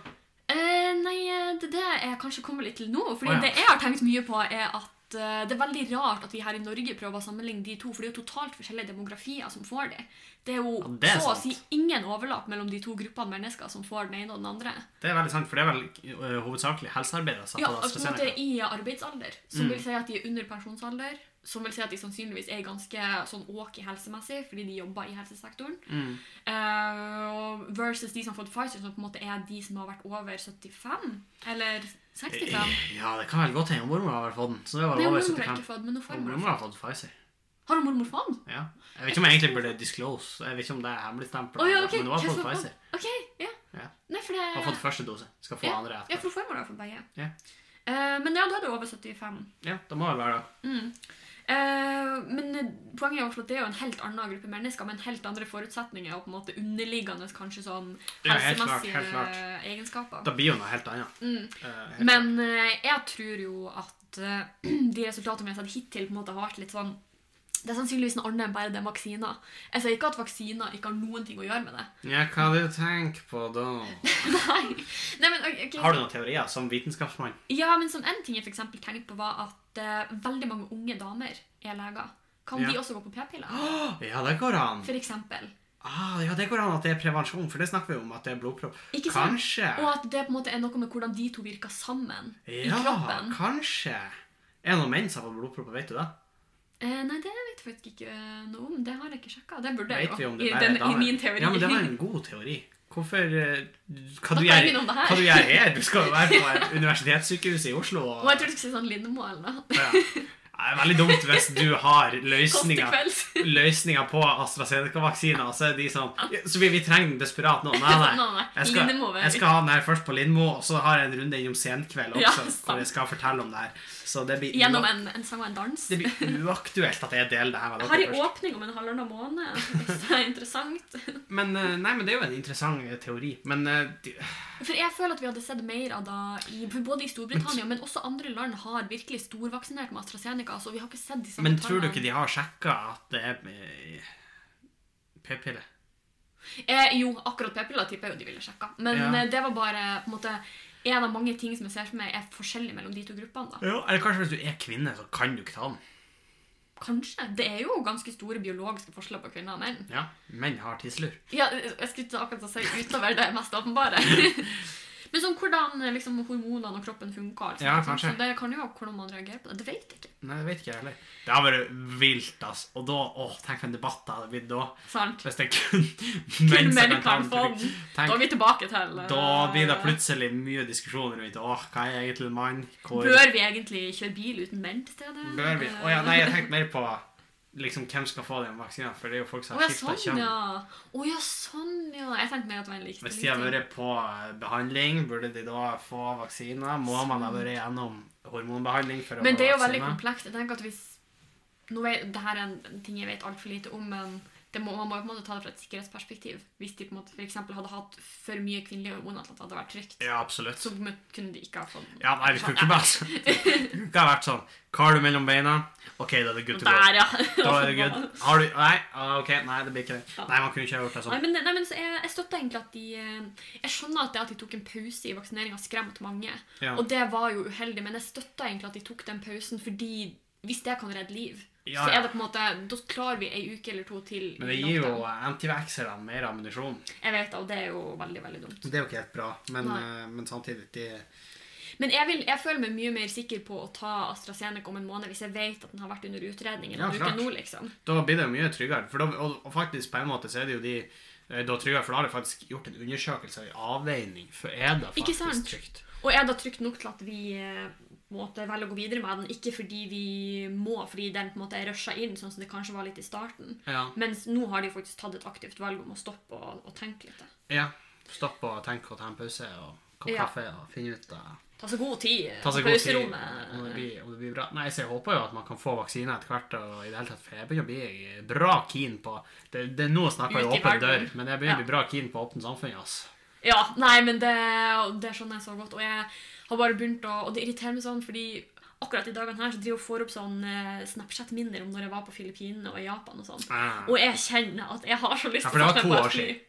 B: Eh, nei, eh, det, det jeg kanskje kommer litt til nå. Fordi
A: Å, ja.
B: det jeg har tenkt mye på, er at eh, det er veldig rart at vi her i Norge prøver å sammenligne de to, for det er jo totalt forskjellige demografier som får det. Det er jo
A: Ja, det er
B: så å
A: sant.
B: si ingen overlapp mellom de to gruppene mennesker som får den ene og den andre.
A: Det er veldig sant, for det er vel eh, hovedsakelig helsearbeidere som
B: Ja,
A: har fått
B: altså, på en måte
A: AstraZeneca.
B: I arbeidsalder, som
A: Mm.
B: vil si at de er under pensjonsalder. Som vil si at de sannsynligvis er ganske sånn åk i helsemessig, fordi de jobber i helsesektoren.
A: Mm.
B: Eh, og versus de som har fått Pfizer, som på en måte er de som har vært over 75, eller 65.
A: Ja, det kan vel godt hende mormor Eh, har fått den. Så det var
B: Nei,
A: over
B: mormor
A: 75.
B: har ikke fått, men nå
A: Og
B: får
A: Mormor
B: mormor.
A: har fått Pfizer.
B: Har hun mormor fått?
A: Ja. Jeg vet ikke om jeg egentlig burde disclose. Jeg vet ikke om det er hemmelig stempel.
B: Å ja, ok.
A: Men hun har fått
B: Hvorfor-
A: Pfizer.
B: Ok, ja.
A: Ja.
B: Nei, for det...
A: Hun har fått første dose. Skal få
B: ja.
A: andre
B: Ja,
A: etterpå.
B: for farmor har fått begge.
A: Ja.
B: Eh, men ja, da er det over 75.
A: Ja, det må vel være det.
B: Mm. Eh, men eh, poenget er jo at det er jo en helt annen gruppe mennesker med en helt andre forutsetninger og på en måte underliggende kanskje sånn
A: Ja, helt klart,
B: helsemessige
A: helt klart.
B: eh, egenskaper.
A: Da blir jo noe helt annet.
B: Mm.
A: Eh, helt
B: Men eh, jeg tror jo at eh, de resultatene vi har sett hittil, på en måte har vært litt sånn Det er sannsynligvis noe annet enn bare det med vaksiner. Jeg sier ikke at vaksiner ikke har noen ting å gjøre med det.
A: klart. Ja, hva du tenker på da?
B: Nei. Nei, men ok, ok.
A: Har du noen teorier som vitenskapsmann?
B: Ja, men sånn En ting jeg for eksempel tenkte på, var at eh, veldig mange unge damer er leger. Kan
A: Ja.
B: de også gå på p-piller?
A: Åh, ja, det går an.
B: For eksempel.
A: Ah, ja, det går an at det er prevensjon, for det snakker vi om at det er blodpropp.
B: Ikke sant?
A: Kanskje.
B: Og at det på en måte er noe med hvordan de to virker sammen i
A: Ja,
B: kroppen.
A: kanskje. Er det noen menn som har fått blodpropp, vet du det?
B: Eh, nei, det vet jeg faktisk ikke eh, noe om. Det har jeg ikke sjekka. Det burde jeg
A: Vet vi
B: jo.
A: om
B: I,
A: det bare
B: den,
A: er damer?
B: I min teori.
A: Ja, men det var en god teori. Hvorfor eh, Hva
B: Da
A: du
B: kan
A: gjør
B: vi noe om det her.
A: hva du gjør her? Du skal jo være på et universitetssykehus i Oslo.
B: Og jeg tror du skulle si sånn Lindemo eller noe.
A: Ja. Det er veldig dumt hvis du har
B: Kost i
A: løsninger
B: kvelds.
A: løsninga på AstraZeneca-vaksiner, så er de sånn «Ja, Så vi, vi trenger den desperat nå. Ah, Nei,
B: Nei,
A: nei.
B: nei.
A: Jeg skal,
B: Lindemo, vel.
A: jeg skal ha den her først på Lindmo, og så har jeg en runde innom Senkveld
B: Ja,
A: også,
B: sant.
A: hvor jeg skal fortelle om det her. Så det blir,
B: Gjennom
A: ua-
B: en, en sang og en dans.
A: det blir uaktuelt at jeg deler det her med
B: Jeg
A: dere
B: har en
A: først.
B: åpning om en halvannen måned. Hvis det er interessant.
A: Men, eh, nei, men det er jo en interessant eh, teori. Men eh, de-
B: For jeg føler at vi hadde sett mer av det i, for både i Storbritannia, men også andre land har virkelig storvaksinert med AstraZeneca. Så vi har ikke sett de samme
A: Men tror du ikke de har sjekka at det er eh, p-pille?
B: Eh, jo, akkurat p-piller tipper jeg jo de ville sjekka. Men
A: Ja.
B: eh, det var bare på en måte en av mange ting som jeg ser for meg er forskjellig mellom de to gruppene. da.
A: Ja, eller kanskje hvis du er kvinne, så kan du ikke ta den.
B: Kanskje. Det er jo ganske store biologiske forskjeller på kvinner og menn.
A: Ja, Menn har tisselur.
B: Ja, eh, jeg skulle ikke akkurat si utover det mest åpenbare. Men sånn hvordan eh, liksom, hormonene og kroppen funker. Altså,
A: Ja,
B: sånn,
A: kanskje.
B: så det kan jo ha hvordan man reagerer på det. Det vet jeg ikke.
A: Nei, det vet ikke jeg heller. Det har vært vilt, ass. Og da, åh, tenk for en debatt det hadde blitt da.
B: Sant?
A: Hvis det kun
B: Kun
A: som
B: menn kan
A: ta
B: få
A: den.
B: den. Da er
A: Tenk,
B: vi tilbake til eh,
A: da blir det plutselig mye diskusjon rundt åh, hva er egentlig en mann? Hvor
B: eh, Bør vi egentlig kjøre bil uten menn til stede?
A: Bør vi? Å ja, nei, jeg tenkte mer på liksom hvem skal få den vaksinen, for det er jo folk som
B: Å ja,
A: har skifta
B: sånn,
A: kjønn.
B: ja. Å ja, sånn, ja. Jeg tenkte mer at det var en likestilling.
A: Hvis de har vært på behandling, burde de da få vaksiner? Må man ha vært gjennom hormonbehandling for å
B: Men det er jo
A: få
B: veldig
A: vaksiner?
B: komplekst. Jeg tenker at hvis nå vet, det her er en ting jeg vet altfor lite om, men det må, man må jo på en måte ta det fra et sikkerhetsperspektiv. Hvis de på en måte for eksempel hadde hatt for mye kvinnelige hormoner til at det hadde vært trygt,
A: Ja, absolutt.
B: så må- kunne de ikke ha fått
A: Ja, nei, vi skulle ikke bare sånn. Det kunne ikke ha vært sånn. Hva har du mellom beina? OK, da er det good to go.
B: Der, ja!
A: Da er det good. Har du Nei, ah, ok, nei, det blir ikke det. Nei, man kunne ikke ha gjort det
B: Nei,
A: sånn.
B: men, nei, men så jeg, jeg støtter egentlig at de eh, Jeg skjønner at det at de tok en pause i vaksineringa, skremte mange.
A: Ja.
B: Og det var jo uheldig, men jeg støtter egentlig at de tok den pausen, fordi hvis det kan redde liv
A: Ja,
B: så er
A: ja.
B: det på en måte, da klarer vi ei uke eller to til. i
A: Men det gir jo
B: lockdown.
A: antivaxerne mer ammunisjon.
B: Jeg vet det, og det er jo veldig, veldig dumt.
C: Det er jo ikke helt bra, men,
B: Nei.
C: eh, men samtidig det,
B: Men jeg, vil, jeg føler meg mye mer sikker på å ta AstraZeneca om en måned hvis jeg vet at den har vært under utredning enn
A: Ja,
B: å bruke
A: klart.
B: den nå, liksom.
A: Da blir det jo mye tryggere. For da, og, og faktisk på en måte så er det jo de eh, da tryggere, for da har de faktisk gjort en undersøkelse og en avveining. For er det
B: Ikke
A: faktisk
B: sant?
A: trygt?
B: Og er det trygt nok til at vi eh, på en måte velger å gå videre med den, ikke fordi vi må, fordi den på en måte er rusha inn, sånn som det kanskje var litt i starten.
A: Ja.
B: Mens nå har de faktisk tatt et aktivt valg om å stoppe og, og tenke litt.
A: ja. Stopp og tenk og ta en pause og kopp
B: Ja.
A: kaffe og finne ut av
B: Ta seg god tid. eh,
A: Ta seg
B: på
A: god tid om
B: pauserommet.
A: det, blir, om det blir bra. Nei, så jeg håper jo at man kan få vaksine etter hvert. og i det hele tatt, For jeg begynner å bli bra keen på det, det er Nå snakker jeg
B: Ut i
A: åpen dør,
B: verden.
A: men jeg begynner å
B: Ja.
A: bli bra keen på åpent samfunn. altså.
B: Ja, nei, men det, det skjønner jeg så godt. Og jeg har bare begynt å Og det irriterer meg sånn, fordi akkurat i dagene her så driver jeg og får opp sånn eh, Snapchat-minner om når jeg var på Filippinene og i Japan og sånn.
A: Ah.
B: Og jeg kjenner at jeg har så lyst
A: Ja, for det
B: å
A: var
B: sette
A: to
B: meg på
A: år
B: et fly.
A: siden.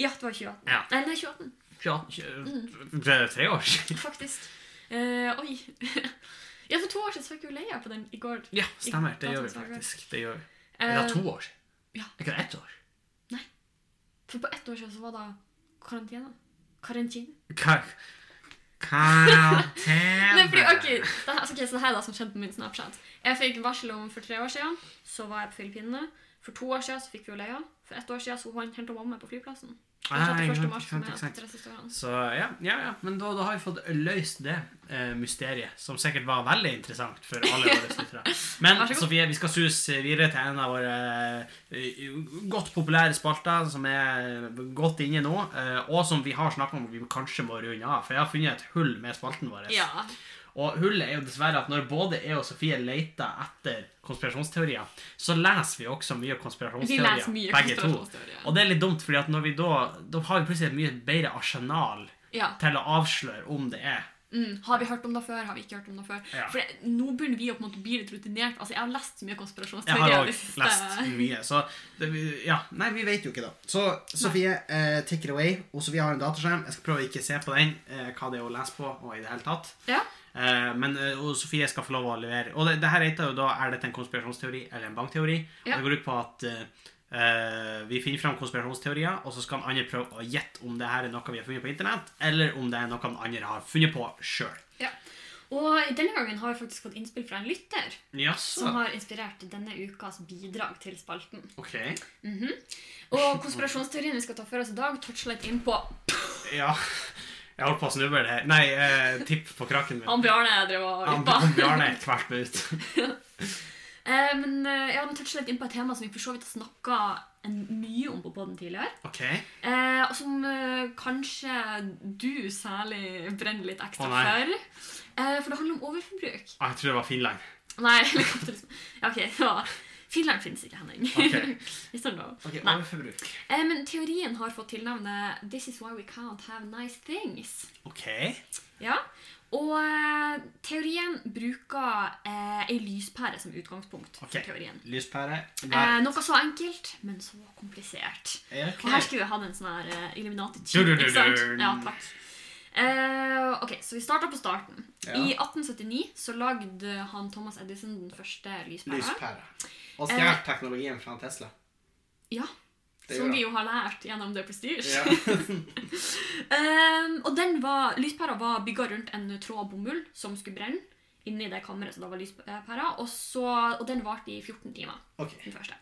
B: Ja, det var 2018.
A: Ja.
B: Nei, det er 2018.
A: Ja,
B: Mm.
A: tjue- det er tre år siden.
B: Faktisk. Eh, oi. ja, for to år siden så fikk jeg jo leia på den i går.
A: Ja, stemmer. Det
B: Ikke-
A: gjør vi
B: dataen
A: faktisk. Det gjør vi.
B: Eh,
A: Eller to år.
B: ja.
A: Ikke ett år.
B: For på ett år siden så var det karantene. Karantene.
A: Hva?
B: Nei, fordi, ok,
A: Karantene.
B: det her, ok, så det her er det som skjedde på min Snapchat. Jeg fikk varsel om for tre år siden, så var jeg på Filippinene. For to år siden så fikk vi jo leia. For ett år siden så hun hentet mamma meg på flyplassen. Den
A: Ah, ikke
B: 31.
A: sant,
B: mars
A: ikke
B: som
A: sant,
B: er
A: ikke sant.
B: de siste årene.
A: Så ja, ja, ja. men da, da har vi fått løst det eh, mysteriet, som sikkert var veldig interessant for alle våre lyttere. Men
B: Vær så god.
A: Sofie, vi skal suse videre til en av våre eh, godt populære spalter, som er godt inne nå, eh, og som vi har snakket om vi kanskje må runde av. For jeg har funnet et hull med spalten vår.
B: Ja.
A: Og hullet er jo dessverre at når både jeg og Sofie leter etter konspirasjonsteorier, så leser vi også mye
B: Vi
A: konspirasjonsteorier.
B: leser mye
A: begge to.
B: konspirasjonsteorier.
A: Og det er litt dumt, fordi at når vi da, da har vi plutselig et mye bedre arsenal
B: Ja.
A: til å avsløre om det er.
B: Mm. Har vi hørt om det før? Har vi ikke hørt om det før?
A: Ja.
B: For det, nå begynner vi å på en måte bli litt rutinert. Altså, jeg har lest så mye
A: Jeg har
B: konspirasjonsteorier. i
A: òg
B: det siste.
A: lest mye, så det, ja.
C: Nei, vi vet jo ikke, da. Så Sofie, eh, take it away. Og Sofie har en dataskjerm. Jeg skal prøve å ikke se på den, eh, hva det er å lese på, og i det hele tatt.
B: Ja.
A: Eh, men eh, og Sofie skal få lov å levere. Og det, det her heter jo da Er dette en konspirasjonsteori eller en bankteori? Og
B: Ja.
A: Det går ut på at eh, eh, vi finner fram konspirasjonsteorier, og så skal den andre prøve å gjette om det her er noe vi har funnet på internett, eller om det er noe den andre har funnet på sjøl.
B: Ja. Og denne gangen har vi faktisk fått innspill fra en lytter som
A: Jaså?
B: har inspirert denne ukas bidrag til spalten.
A: Ok.
B: Mhm. Og konspirasjonsteorien vi skal ta for oss i dag, toucher litt inn på
A: Ja. Jeg holdt på å snuble det her. Nei, eh, tipp på krakken min.
B: han Bjarne drev og
A: Han
B: lytta.
A: han Bjarne er tvert ut.
B: Eh, Men eh, ja, den toucher litt inn på et tema som vi for så vidt har snakka mye om på podden tidligere.
A: Ok.
B: Eh, og som eh, kanskje du særlig brenner litt ekstra
A: Å, nei.
B: for. Eh, for det handler om overforbruk.
A: Ah, jeg tror det var Finland.
B: Nei, eller kapitalisme. Ja, ok, det var... Finland finnes ikke, Henning.
A: Ok.
B: Yes or no?
A: Ok,
B: Nei.
A: Overforbruk.
B: Eh, men teorien har fått tilnavnet This is why we can't have nice things.
A: Ok.
B: Ja, og eh, teorien bruker eh, ei lyspære som utgangspunkt
A: Ok.
B: for teorien.
A: Lyspære.
B: Eh,
A: Nei.
B: noe så enkelt, men så komplisert.
A: Ok.
B: Og Eh, her skulle vi hatt en sånn her eh, Illuminati
A: Du, du, du,
B: ikke sant?
A: du.
B: Ja, takk. Eh, ok, så vi starter på starten.
C: Ja.
B: I 1879 så lagde han Thomas Edison den første lyspæra.
C: Lyspære. Og
B: Eh.
C: stjålet teknologien fra Tesla.
B: Ja,
C: Det
B: som
C: gjør
B: vi jo har lært gjennom The Prestige.
C: Ja.
B: Ehm, og den var, lyspæra var bygga rundt en tråd av bomull som skulle brenne inni det kammeret som da var lyspæra, og, så- og den varte i 14 timer.
C: Ok.
B: den første.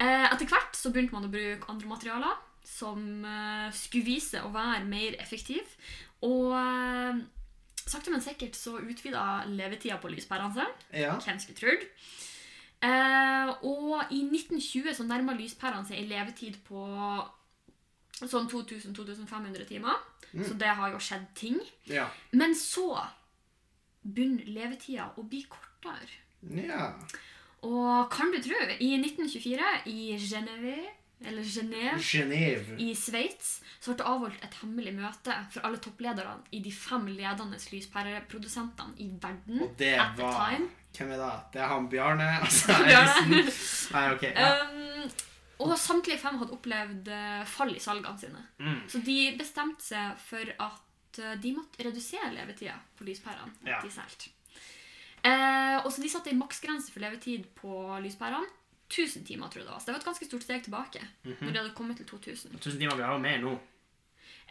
B: Eh, etter hvert så begynte man å bruke andre materialer som eh, skulle vise å være mer effektiv, og eh, sakte men sikkert så utvida levetida på lyspærene seg.
C: Ja.
B: Hvem skulle trodd? Eh, og i 1920 så nærma lyspærene seg en levetid på sånn 2000-2500 timer. Så det har jo skjedd ting.
C: Ja.
B: Men så begynner levetida å bli kortere.
C: ja.
B: Og kan du tro, i 1924 i Genève, eller Genève
C: Genève.
B: i Sveits så ble det avholdt et hemmelig møte for alle topplederne i de fem ledende lyspæreprodusentene i verden.
C: Og det
B: at the
C: var
B: time.
C: Hvem er det? Det er han Bjarne. Altså,
B: Bjarne.
C: Eisen. Nei, ok. Ja.
B: Um, og samtlige fem hadde opplevd eh, fall i salgene sine.
A: Mm.
B: Så de bestemte seg for at eh, de måtte redusere levetida på lyspærene.
A: Ja.
B: de solgte. Eh, og så De satte en maksgrense for levetid på lyspærene. 1000 timer, tror jeg det var. Så det var et ganske stort steg tilbake. Når
A: Mm. mhm.
B: de hadde kommet til 2000.
D: 1000 timer, vi har jo mer nå.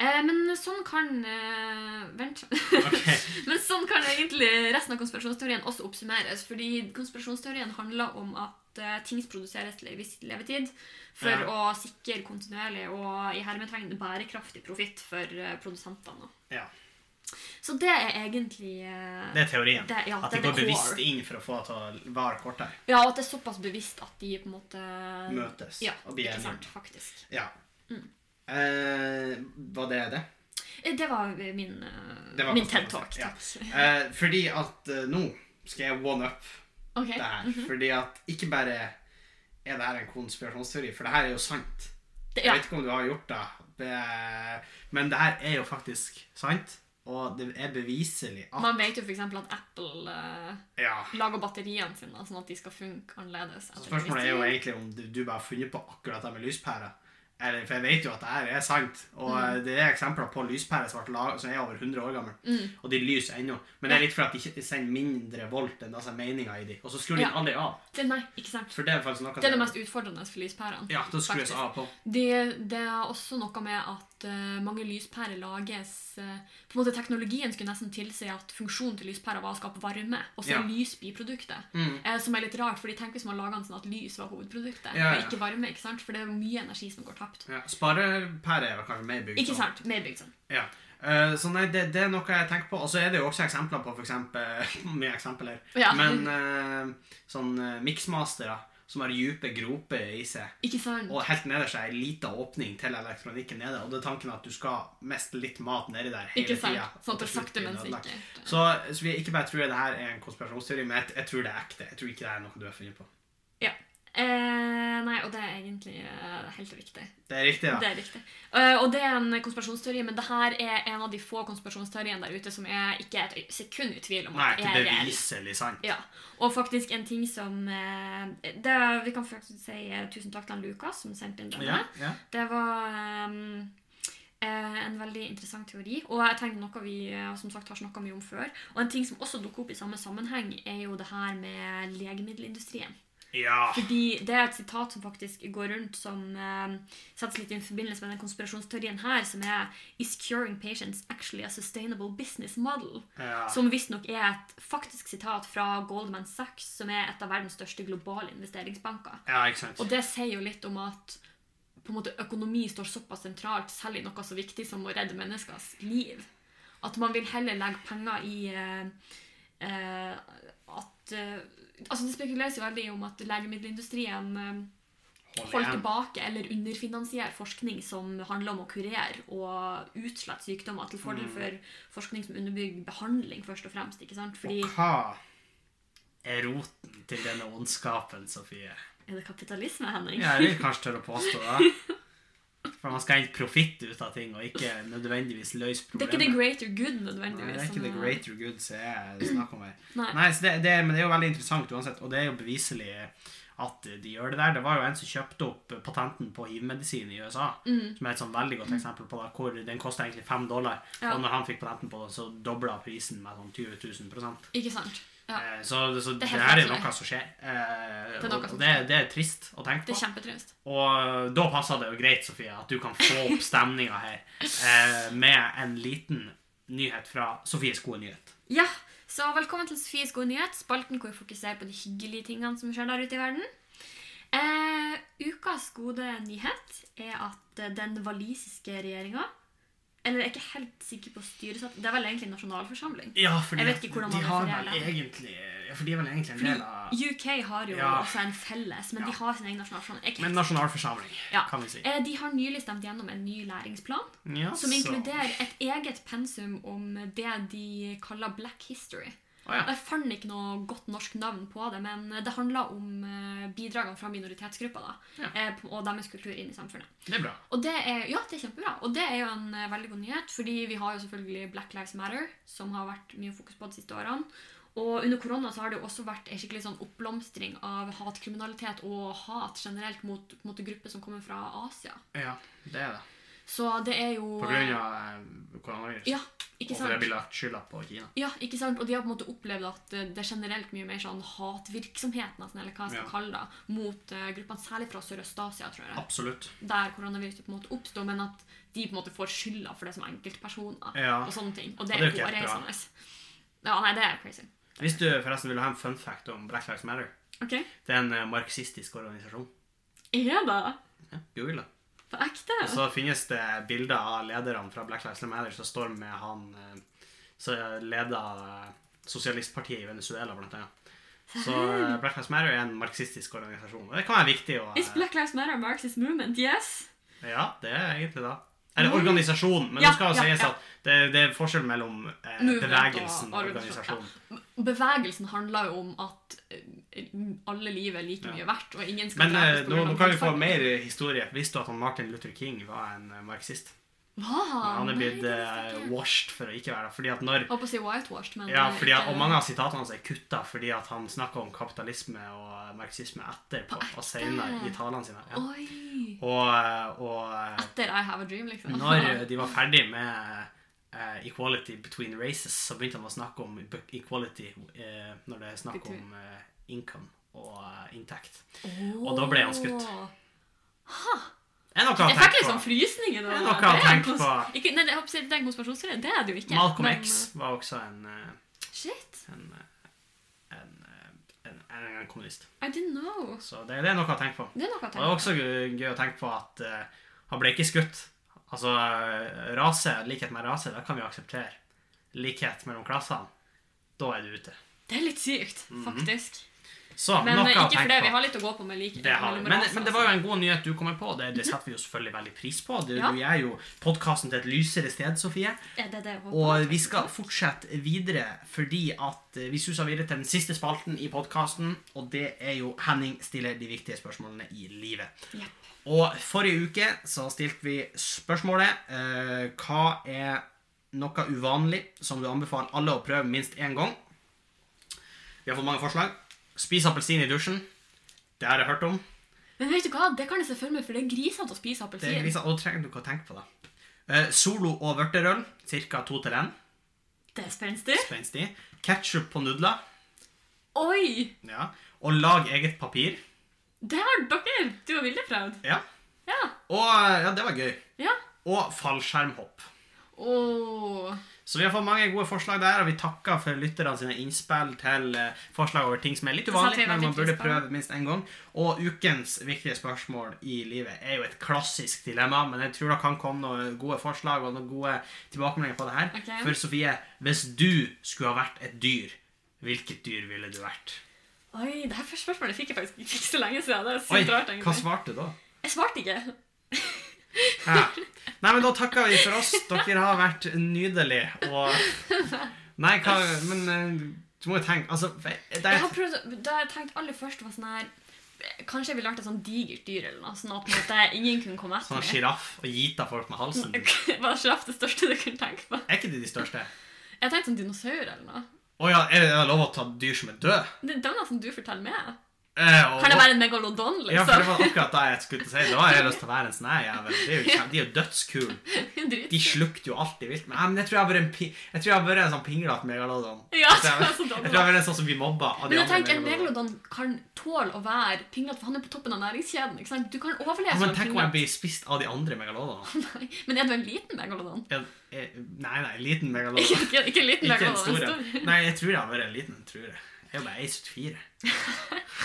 B: Eh, men sånn kan eh, Vent.
D: Ok.
B: men sånn kan egentlig resten av konspirasjonsteorien også oppsummeres. Fordi konspirasjonsteorien handler om at eh, ting produseres til en viss levetid for
D: Ja.
B: å sikre kontinuerlig og i hermetegn bærekraftig profitt for eh, produsentene.
D: Ja.
B: Så det er egentlig eh,
D: Det er teorien.
B: det- ja,
D: At
B: det
D: de
B: er
D: går
B: the
D: bevisst
B: core.
D: inn for å få det til å vare kortere.
B: Ja, og at det er såpass bevisst at de på en måte
D: Møtes
B: Eh, Ja,
D: og blir
B: ikke
D: enige.
B: sant, Mm. faktisk.
A: Ja. Eh, var det det?
B: Eh, Det var eh, min, eh,
A: Det var
B: min
A: ganske
B: TED-talk.
A: interessant, ja.
B: takk.
A: Eh, fordi at eh, nå skal jeg one up
B: Ok. mhm.
A: det her. Fordi at ikke bare er det her en konspirasjonsteori, for det her er jo sant.
B: Det-
A: Jeg
B: Ja.
A: vet ikke om du har gjort det, det- men det her er jo faktisk sant. Og det er beviselig at
B: Man vet jo f.eks. at Apple eh,
A: Ja.
B: lager batteriene sine sånn at de skal funke annerledes.
A: Så
B: etter en viss
A: spørsmålet er jo
B: tid.
A: egentlig om du, du bare har funnet på akkurat det med lyspærer. Eller, for jeg vet jo at det her er sant, og
B: Mm.
A: eh, det er eksempler på lyspærer som, ble lag- som er over 100 år gamle,
B: Mm.
A: og de lyser ennå. Men det er litt fordi at de ikke sender mindre volt enn det som er meninga i de. Og så skrur de
B: Ja.
A: aldri av.
B: det, Nei, ikke sant.
A: For det er faktisk noe
B: Det er
A: som-
B: det mest utfordrende for lyspærene.
A: Ja, da skrus
B: faktisk.
A: av på.
B: Det, det er også noe med at eh, mange lyspærer lages eh, på en måte Teknologien skulle nesten tilsi at funksjonen til lyspærer var å skape varme, og så
A: Ja.
B: er lys biproduktet.
A: Mm.
B: Eh, som er litt rart, fordi tenk hvis man lager den sånn at lys var hovedproduktet,
A: Ja, ja.
B: og ikke varme. ikke sant? For det er jo mye energi som går tapt.
A: Ja. Sparepære er vel kanskje mer bygd
B: Ikke
A: sånn.
B: sant? Mer bygd sånn.
A: Ja. Eh, så nei, det, det er noe jeg tenker på. Og så er det jo også eksempler på for eksempel, Mye eksempler.
B: Ja.
A: Men eh, sånn eh, miksmastere som har dype groper i seg.
B: Ikke sant?
A: Og helt nederst er ei lita åpning til elektronikken nede. Og det er tanken at du skal miste litt mat nedi der hele
B: Ikke sant?
A: tida.
B: Sånn at det sakte, men sikkert.
A: Så, så vi ikke bare tror jeg det her er en konspirasjonsteori, men jeg, jeg tror det er ekte. Jeg tror ikke det er noe du har funnet på.
B: Ja. Eh, nei, og det er egentlig eh, helt riktig.
A: Det er riktig,
B: Det
A: da.
B: er riktig. Eh, og det er en konspirasjonsteori, men det her er en av de få konspirasjonsteoriene der ute som jeg ikke er et sekund i tvil om
A: Nei,
B: at
A: det
B: er
A: er
B: reell.
A: beviselig sant.
B: Ja. Og faktisk en ting som eh, det, Vi kan faktisk si eh, tusen takk til han Lukas som sendte inn denne.
A: Ja, ja.
B: Det var ehm, eh, en veldig interessant teori, og jeg tenkte noe vi eh, som sagt har snakka mye om før. Og en ting som også dukker opp i samme sammenheng, er jo det her med legemiddelindustrien.
A: ja.
B: Fordi Det er et sitat som faktisk går rundt, som eh, settes litt i forbindelse med den konspirasjonsteorien her, som er «Is curing patients actually a sustainable business model?»
A: Ja.
B: Som visstnok er et faktisk sitat fra Goldman Sachs, som er et av verdens største globale investeringsbanker.
A: ja, ikke sant.
B: Og det sier jo litt om at på en måte, økonomi står såpass sentralt, selv i noe så viktig som å redde menneskers liv. At man vil heller legge penger i eh, eh, at eh, Altså, det spekuleres jo veldig om at legemiddelindustrien eh,
A: Hold
B: holder
A: igjen.
B: tilbake eller underfinansierer forskning som handler om å kurere og utslette sykdommer, til fordel
A: Mm.
B: for forskning som underbygger behandling, først og fremst. ikke sant? Fordi
A: Og hva
D: Er roten til denne ondskapen, Sofie?
B: Er det kapitalisme, Henning?
D: Ja, jeg vil kanskje tørre å påstå det. For man skal hente profitt ut av ting, og ikke nødvendigvis løse
B: Det er
D: problemer.
B: ikke the greater good,
A: Nei,
B: nødvendigvis.
A: det er ikke
B: som
A: the
B: er-
A: greater good som jeg snakker om her.
B: Nei.
A: Nei, så det, det, Men det er jo veldig interessant uansett, og det er jo beviselig at de gjør det der. Det var jo en som kjøpte opp patenten på hivmedisin i USA,
B: Mm,
A: som er et sånn veldig godt eksempel på det, hvor den kosta egentlig fem dollar,
B: Ja.
A: og når han fikk patenten på det, så dobla prisen med sånn 20 000 prosent.
B: Ikke sant? Ja.
A: Eh, Så, så det,
B: Det er helt
A: her er
B: merkelig.
A: noe som skjer. Eh,
B: Det er noe
A: og
B: som
A: og det, det er trist å tenke
B: Det
A: på. eh,
B: er kjempetrist.
D: Og da passer det jo greit, Sofie, at du kan få opp stemninga her eh, med en liten nyhet fra Sofies gode nyhet.
B: Ja, så velkommen til Sofies gode nyhet, spalten hvor vi fokuserer på de hyggelige tingene som skjer der ute i verden. Eh, ukas gode nyhet er at eh, den walisiske regjeringa Eller jeg er ikke helt sikker på styresett Det er vel egentlig nasjonalforsamling.
D: Ja, fordi
B: Jeg vet ikke hvordan
D: de
B: man
D: har
B: refererer
D: vel
B: det.
D: egentlig ja, For de er vel egentlig en del av
B: UK har jo
D: Ja.
B: også en felles, men
D: Ja.
B: de har sin egen nasjonalforsamling. Jeg er ikke
D: Men
B: helt
D: nasjonalforsamling,
B: Ja.
D: kan vi si.
B: Eh, De har nylig stemt gjennom en ny læringsplan
D: Ja,
B: som
D: så-
B: inkluderer et eget pensum om det de kaller black history.
D: Å, ja.
B: Jeg fant ikke noe godt norsk navn på det, men det handler om eh, bidragene fra minoritetsgrupper da,
D: Ja.
B: eh, på- og deres kultur inn i samfunnet.
D: Det er bra.
B: Og det er, ja, det er kjempebra. Og det er jo en eh, veldig god nyhet, fordi vi har jo selvfølgelig Black Lives Matter, som har vært mye fokus på de siste årene. Og under korona så har det jo også vært en skikkelig sånn oppblomstring av hatkriminalitet og hat generelt mot, mot grupper som kommer fra Asia.
D: Ja, det er det.
B: Så det er jo
A: På grunn av eh, koronavirus.
B: Ja, ikke
A: og for det
B: sant?
A: blir lagt skylda på Kina.
B: Ja, ikke sant? Og de har på en måte opplevd at eh, det er generelt mye mer sånn hatvirksomhet, nesten, eller hva jeg skal
A: Ja.
B: kalle det, mot eh, gruppene, særlig fra Sørøst-Asia, tror jeg.
A: Absolutt.
B: Der koronaviruset på en måte oppstår, men at de på en måte får skylda for det som enkeltpersoner.
A: Ja.
B: Og sånne ting. Og det
A: Ja, det
B: er
A: er ikke helt bra.
B: hårreisende. Ja, nei, det er crazy.
A: Hvis du forresten vil ha en fun fact om Black Lives Matter
B: Ok,
A: Det er en eh, marxistisk organisasjon.
B: Er det
A: Ja, Google det.
B: på ekte?
A: Og så finnes det bilder av lederne fra Black Lives Matter som står med han eh, som leder eh, sosialistpartiet i Venezuela, blant annet. Så eh, Black Lives Matter er en marxistisk organisasjon. Og det kan være viktig å eh,
B: Is Black Lives Matter a Marxist movement? Yes!
A: Ja, det er egentlig det. Eller organisasjon, men
B: Ja,
A: det skal jo
B: ja,
A: sies
B: ja.
A: at det, det er forskjell mellom eh,
B: Movement og
A: bevegelsen og
B: organisasjon,
A: organisasjonen.
B: Bevegelsen handler jo om at eh, alle liv er like
A: Ja.
B: mye verdt, og ingen skal
A: Men eh,
B: drepes på
A: nå,
B: grunn av
A: nå kan vi få
B: hudfarge.
A: mer historie. Visste du at han Martin Luther King var en eh, marxist?
B: Hva?
A: Han er
B: Ah, Nei,
A: blitt
B: det
A: eh,
B: visste jeg ikke.
A: washed for å ikke være det. Fordi at når
B: Jeg holdt på å si whitewashed, men
A: Ja,
B: det er
A: fordi at,
B: ikke-
A: og mange av sitatene hans er kutta fordi at han snakker om kapitalisme og eh, marxisme etterpå
B: På ekte?
A: og senere i talene sine. Ja.
B: Oi!
A: Og, eh, og eh,
B: Etter I Have a Dream, liksom.
A: når de var ferdig med eh, equality between races, så begynte han å snakke om equality eh, når det er snakk
B: Between-
A: om eh, income og eh, inntekt.
B: Åh.
A: og da ble han skutt. Er noe å
B: Jeg fikk litt
A: tenke på.
B: sånn frysninger nå.
A: Det er noe jeg har
B: en
A: tenkt
B: kons-
A: på.
B: Ikke, nei, jeg håper å si, det er en konspirasjonsgreie. Det er det jo ikke.
A: Malcolm
B: men- eh,
A: X var også en, eh,
B: Shit,
A: en, eh, en, eh, en, en, en kommunist.
B: I didn't know.
A: Så det, det er noe å tenke på.
B: Det er noe
A: Og det
B: jeg
A: er
B: tenker.
A: også gøy gøy å tenke på at eh, han ble ikke skutt. Altså, eh, rase, likhet med rase, det kan vi akseptere. Likhet mellom klassene, da er du ute.
B: Det er litt sykt, faktisk.
A: Så,
B: Men
A: Mhm. noe
B: eh,
A: å
B: ikke fordi vi
A: tenke på.
B: har litt å gå på med like.
A: Det har vi.
B: mellom altså.
A: Men,
B: raser,
A: men det var jo en god nyhet du kommer på. Det, det setter vi jo selvfølgelig veldig pris på. Du,
B: Ja.
A: du er jo podkasten til et lysere sted, Sofie.
B: altså. Er det det jeg håper?
A: Og vi skal fortsette videre, fordi at eh, vi suser videre til den siste spalten i podkasten, og det er jo Henning stiller de viktige spørsmålene i livet.
B: Jepp.
A: Og forrige uke så stilte vi spørsmålet eh, Hva er noe uvanlig som du anbefaler alle å prøve minst én gang? Vi har fått mange forslag. Spis appelsin i dusjen. Det har jeg hørt om.
B: Men vet du hva, det kan jeg se for meg, for det er grisete å spise
A: Det er
B: appelsin.
A: liksom, og trenger du ikke å tenke på det. Eh, solo og vørterøl, ca. to til én.
B: Det er spenstig.
A: Spenstig. Ketsjup på nudler.
B: Oi!
A: Ja. Og lag eget papir.
B: Det har dere! Du og Vilde prøvd.
A: Ja.
B: Ja.
A: Og eh, ja, det var gøy.
B: Ja.
A: Og fallskjermhopp.
B: Åh.
A: Så vi har fått mange gode forslag der, og vi takker for lytterne sine innspill til eh, forslag over ting som er litt
B: Det satte
A: uvanlig,
B: vi
A: men man
B: veldig
A: burde
B: pris på.
A: prøve minst én gang. Og ukens viktige spørsmål i livet er jo et klassisk dilemma, men jeg tror det kan komme noen gode forslag og noen gode tilbakemeldinger på det her.
B: Ok.
A: For Sofie, hvis du skulle ha vært et dyr, hvilket dyr ville du vært?
B: Oi, det her første spørsmålet fikk jeg faktisk ikke så lenge siden. Det er
A: Oi,
B: sykt rart,
A: hva
B: egentlig.
A: svarte du da?
B: Jeg svarte ikke.
A: Ja. Nei, men da takker vi for oss. Dere har vært nydelige og Nei, hva Men eh, du må jo tenke Altså, det
B: Jeg
A: er
B: har prøvd, å- da jeg tenkte aller først var sånn her Kanskje jeg ville vært et sånn digert dyr, eller noe, sånn at på en måte ingen kunne komme etter
A: sånn
B: meg.
A: sjiraff og gita folk med halsen.
B: Bare slapp det største du kunne tenke på.
A: Er ikke de de største?
B: Jeg tenkte sånn dinosaur eller noe.
A: Å ja, er det er det lov å ta dyr som er døde?
B: Det det er noe som du forteller meg.
A: Eh, og-
B: Kan det være en megalodon,
A: Ja, for det
B: liksom?
A: var akkurat det jeg skulle til å si. Da har jeg lyst til å være en sånn her jævel. Det er jo kjem- De er jo dødskule.
B: Drit.
A: De slukte jo alt de vil. Nei, men jeg tror jeg har vært en, pi jeg tror jeg har vært en sånn pinglete megalodon.
B: Ja,
A: jeg, tror jeg,
B: sånn som
A: jeg tror jeg har vært en sånn som blir mobba av de
B: Men jeg
A: andre
B: tenker, En
A: megalodonene.
B: megalodon kan tåle å være pinglete, for han er på toppen av næringskjeden. ikke sant? Du kan overleve
A: Ja,
B: som
A: men
B: en
A: tenk om jeg
B: sånn pinglete.
A: blir spist av de andre megalodonene.
B: Nei, Men er du en liten megalodon?
A: En, eh, nei, nei, liten megalodon.
B: Ikke, ikke en liten
A: Ikke en
B: megalodon.
A: stor
B: en
A: en.
B: stor.
A: Nei, jeg tror jeg har vært en liten. tror Jeg Jeg er jo bare 1,74.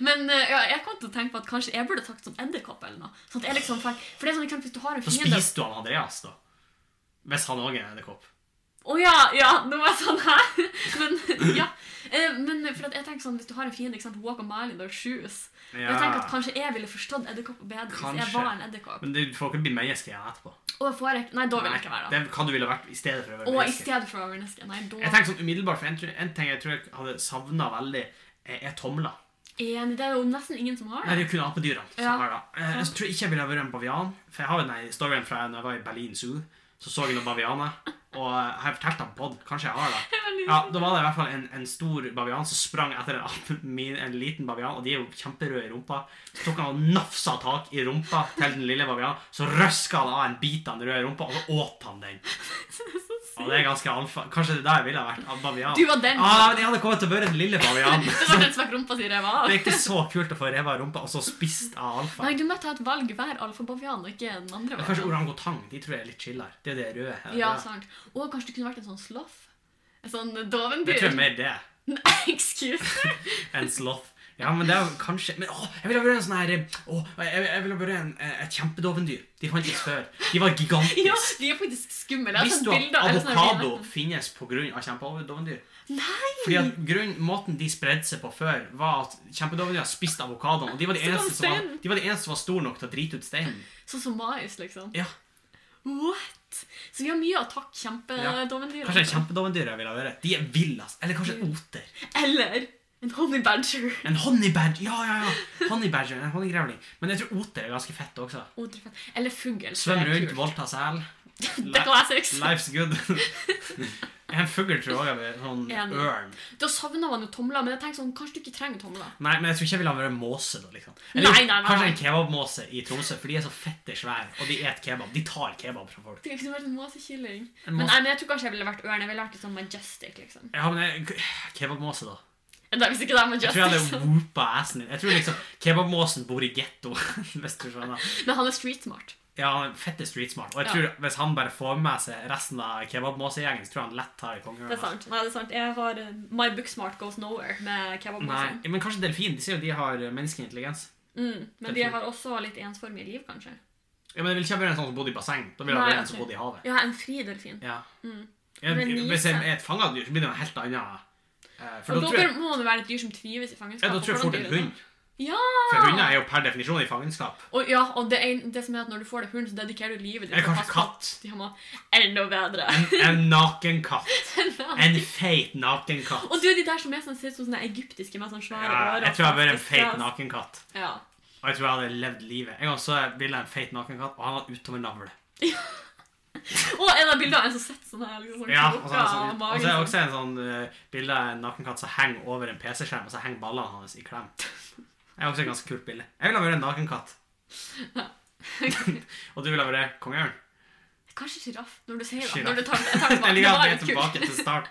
B: Men eh, ja, jeg kom til å tenke på at kanskje jeg burde sagt sånn edderkopp eller noe. Sånn at jeg liksom fikk, for det er sånn, ikke sant, Hvis du har en
A: Så
B: fiende
A: spiser du han Andreas, da. Hvis han òg er en edderkopp.
B: Å ja, ja, nå var jeg sånn her! Men ja. Eh, Men for at jeg tenker sånn, hvis du har en fiende, ikke sant, walk a mile in their shoes. Og Jeg tenker at Kanskje jeg ville forstått edderkopper bedre hvis jeg
A: Kanskje.
B: var en edderkopp.
A: Men du får ikke bli menneske igjen etterpå.
B: Og jeg får ikke, Nei, da vil jeg ikke være det.
A: det er hva du ville vært i stedet for å være
B: Og i
A: menneske.
B: stedet for å være menneske. Nei,
A: Jeg
B: da
A: tenker sånn umiddelbart, for en, tr- en ting jeg tror jeg hadde savna veldig, er, er tomler.
B: Enig, det er jo nesten ingen som har
A: Nei,
B: det.
A: det er jo kun apedyrene som
B: Ja.
A: har det. Eh, Jeg tror ikke jeg ville vært en bavian. For jeg har jo den her historien fra når jeg var i Berlin Zoo. Så så jeg noen bavianer. Og jeg har fortalt ham på det. Kanskje jeg har det.
B: Jeg har lyst
A: Ja,
B: til-
A: Da var det i hvert fall en, en stor bavian som sprang etter en, annen- min, en liten bavian, og de er jo kjemperøde i rumpa. Så tok han og nafsa tak i rumpa til den lille bavianen, så røska han av en bit av den røde rumpa, og så åt han den. Og det er ganske alfa. Kanskje det der ville ha vært av bavian.
B: Du var den.
A: ah, men jeg hadde kommet til å være den lille bavianen.
B: Det var den som fikk rumpa si revet av.
A: Det er ikke så kult å få revet av rumpa, og så spist av alfa.
B: Nei, du må ta et valg hver alfabavian, og ikke den andre.
A: Men Kanskje
B: veien.
A: orangutang. De tror jeg er litt chillere. Det er jo det røde. her.
B: Ja, altså,
A: Det-
B: sant. Og kanskje det kunne vært en sånn sloth? En sånn
A: jeg tror
B: dovendyr?
A: mer det
B: Nei, excuse.
A: enn sloth. Ja, men det er jo kanskje Men å, jeg ville vært en sånn her eh, Å, jeg, jeg ville vært en, eh, et kjempedovendyr. De fantes før. De var gigantiske.
B: Ja, de er faktisk skumle. Jeg har
A: Visste
B: sett
A: du at
B: bilder av en sånn her
A: avokado
B: bilde.
A: finnes pga. kjempedovendyr?
B: Nei!
A: Fordi at grunn, Måten de spredde seg på før, var at kjempedovendyr spiste avokadoen. Og de var de
B: Så kom
A: eneste som var,
B: steinen.
A: de var, de eneste som var store nok til å drite ut steinen.
B: Sånn som mais, liksom.
A: Ja,
B: What? Så vi har mye å takke kjempedovendyra
A: Kanskje et kjempedovendyr jeg ville vært. De er villest. Eller kanskje en oter.
B: Eller en honey badger.
A: En honeybadger. Ja, ja, ja. Honeybadger, en honningrevling. Men jeg tror oter er ganske fett også.
B: Odrefett. Eller fugl.
A: Svøm
B: Det er
A: rundt,
B: kult.
A: voldta sel.
B: Det kan jeg sex.
A: Life's good. en fugl tror jeg også er sånn
B: Enig.
A: ørn.
B: Da savner man jo tomler, men jeg tenker sånn, kanskje du ikke trenger tomler.
A: Nei, men jeg tror ikke jeg ville ha vært måse. da, liksom.
B: Nei, nei, nei.
A: Kanskje en kebabmåse i Tromsø, for de er så fette svære, og de et kebab. De tar kebab fra folk.
B: Det kunne vært en måsekilling.
A: En
B: Men,
A: måse-
B: nei, men jeg tror kanskje jeg ville vært ørn. Jeg ville vært litt sånn majestic, liksom.
A: Ja, men jeg- Kebabmåse, da.
B: Nei, hvis ikke det er
A: Jeg tror jeg hadde
B: majestic.
A: whoopa assen din. Jeg tror liksom Kebabmåsen bor i getto. hvis du skjønner.
B: så- Men han er street smart.
A: Ja, han er fette street smart. Og jeg tror hvis han bare får med seg resten av kebabmåsegjengen, så tror jeg han lett tar i
B: Det er
A: kongeørna.
B: sant. Nei, det er sant. Jeg har eh, My Book Smart Goes Nowhere med kebab og
A: altså. Nei,
B: sånn.
A: men kanskje delfin. De sier jo de har menneskelig intelligens.
B: Mm. Men
A: Det
B: de
A: tror jeg.
B: har også litt ensformige liv, kanskje.
A: Ja, men jeg vil ikke ha vært en sånn som bodde i basseng. Da vil jeg ha
B: Nei,
A: vært en
B: ok.
A: som bodde i havet.
B: Ja, en fri delfin.
A: Ja.
B: Mm.
A: Jeg,
B: Men nise?
A: hvis jeg er et fanga dyr, så blir det noe helt annet. Eh, For
B: Og
A: da
B: da
A: tror jeg,
B: må det være et dyr som trives i fangenskap.
A: ja, da
B: og
A: tror jeg
B: hvordan
A: fort en
B: dyr er det?
A: hund.
B: Ja!
A: For hunder er jo per definisjon i fangenskap.
B: Og, ja, og det, er, det som er at når du får deg hund, så dedikerer du livet ditt
A: Eller
B: til å
A: kanskje
B: passe på
A: katt.
B: at De har må enda bedre.
A: En, en naken katt.
B: og
A: En feit naken katt.
B: du, de der som er sånn, ser ut som sånne egyptiske med sånne svære
A: Ja,
B: ører.
A: jeg tror jeg hadde vært en
B: faktisk,
A: feit
B: ja.
A: naken katt.
B: Ja.
A: Og jeg tror jeg hadde levd livet. En gang så jeg bildet av en feit naken katt, og han hadde utover navle.
B: Og en av bildene av en som sitter sånn her. Liksom, sånn
A: Ja, og
B: krukka
A: så er det, sånn, og så
B: av
A: er det
B: magen,
A: også en sånn eh, bilde av en naken katt som henger over en PC-skjerm, og så henger ballene hans i klem. Det er også et ganske kult bilde. Jeg ville ha vært en naken katt. og du ville ha vært kongeørn.
B: sånn. Kanskje sjiraff, når du sier det.
A: Giraff.
B: Når du tar, jeg tar det
A: Jeg liker at vi er
B: Det var litt kult.
A: tilbake til start.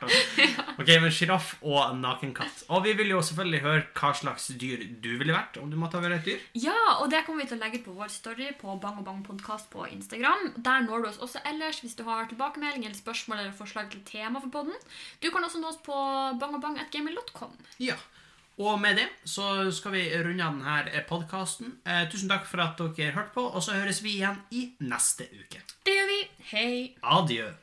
A: da. Ok, men Sjiraff og naken katt. Og vi vil jo selvfølgelig høre hva slags dyr du ville vært om du måtte ha vært et dyr.
B: Ja, og det kommer vi til å legge ut på vår story på Bang og Bang podcast på Instagram. Der når du oss også ellers hvis du har tilbakemelding eller spørsmål eller forslag til tema for podden. Du kan også nå oss på bangogbang.gmail.com.
A: Ja. Og med det så skal vi runde av denne podkasten. Eh, tusen takk for at dere hørte på, og så høres vi igjen i neste uke.
B: Det gjør vi. Hei!
A: Adjø.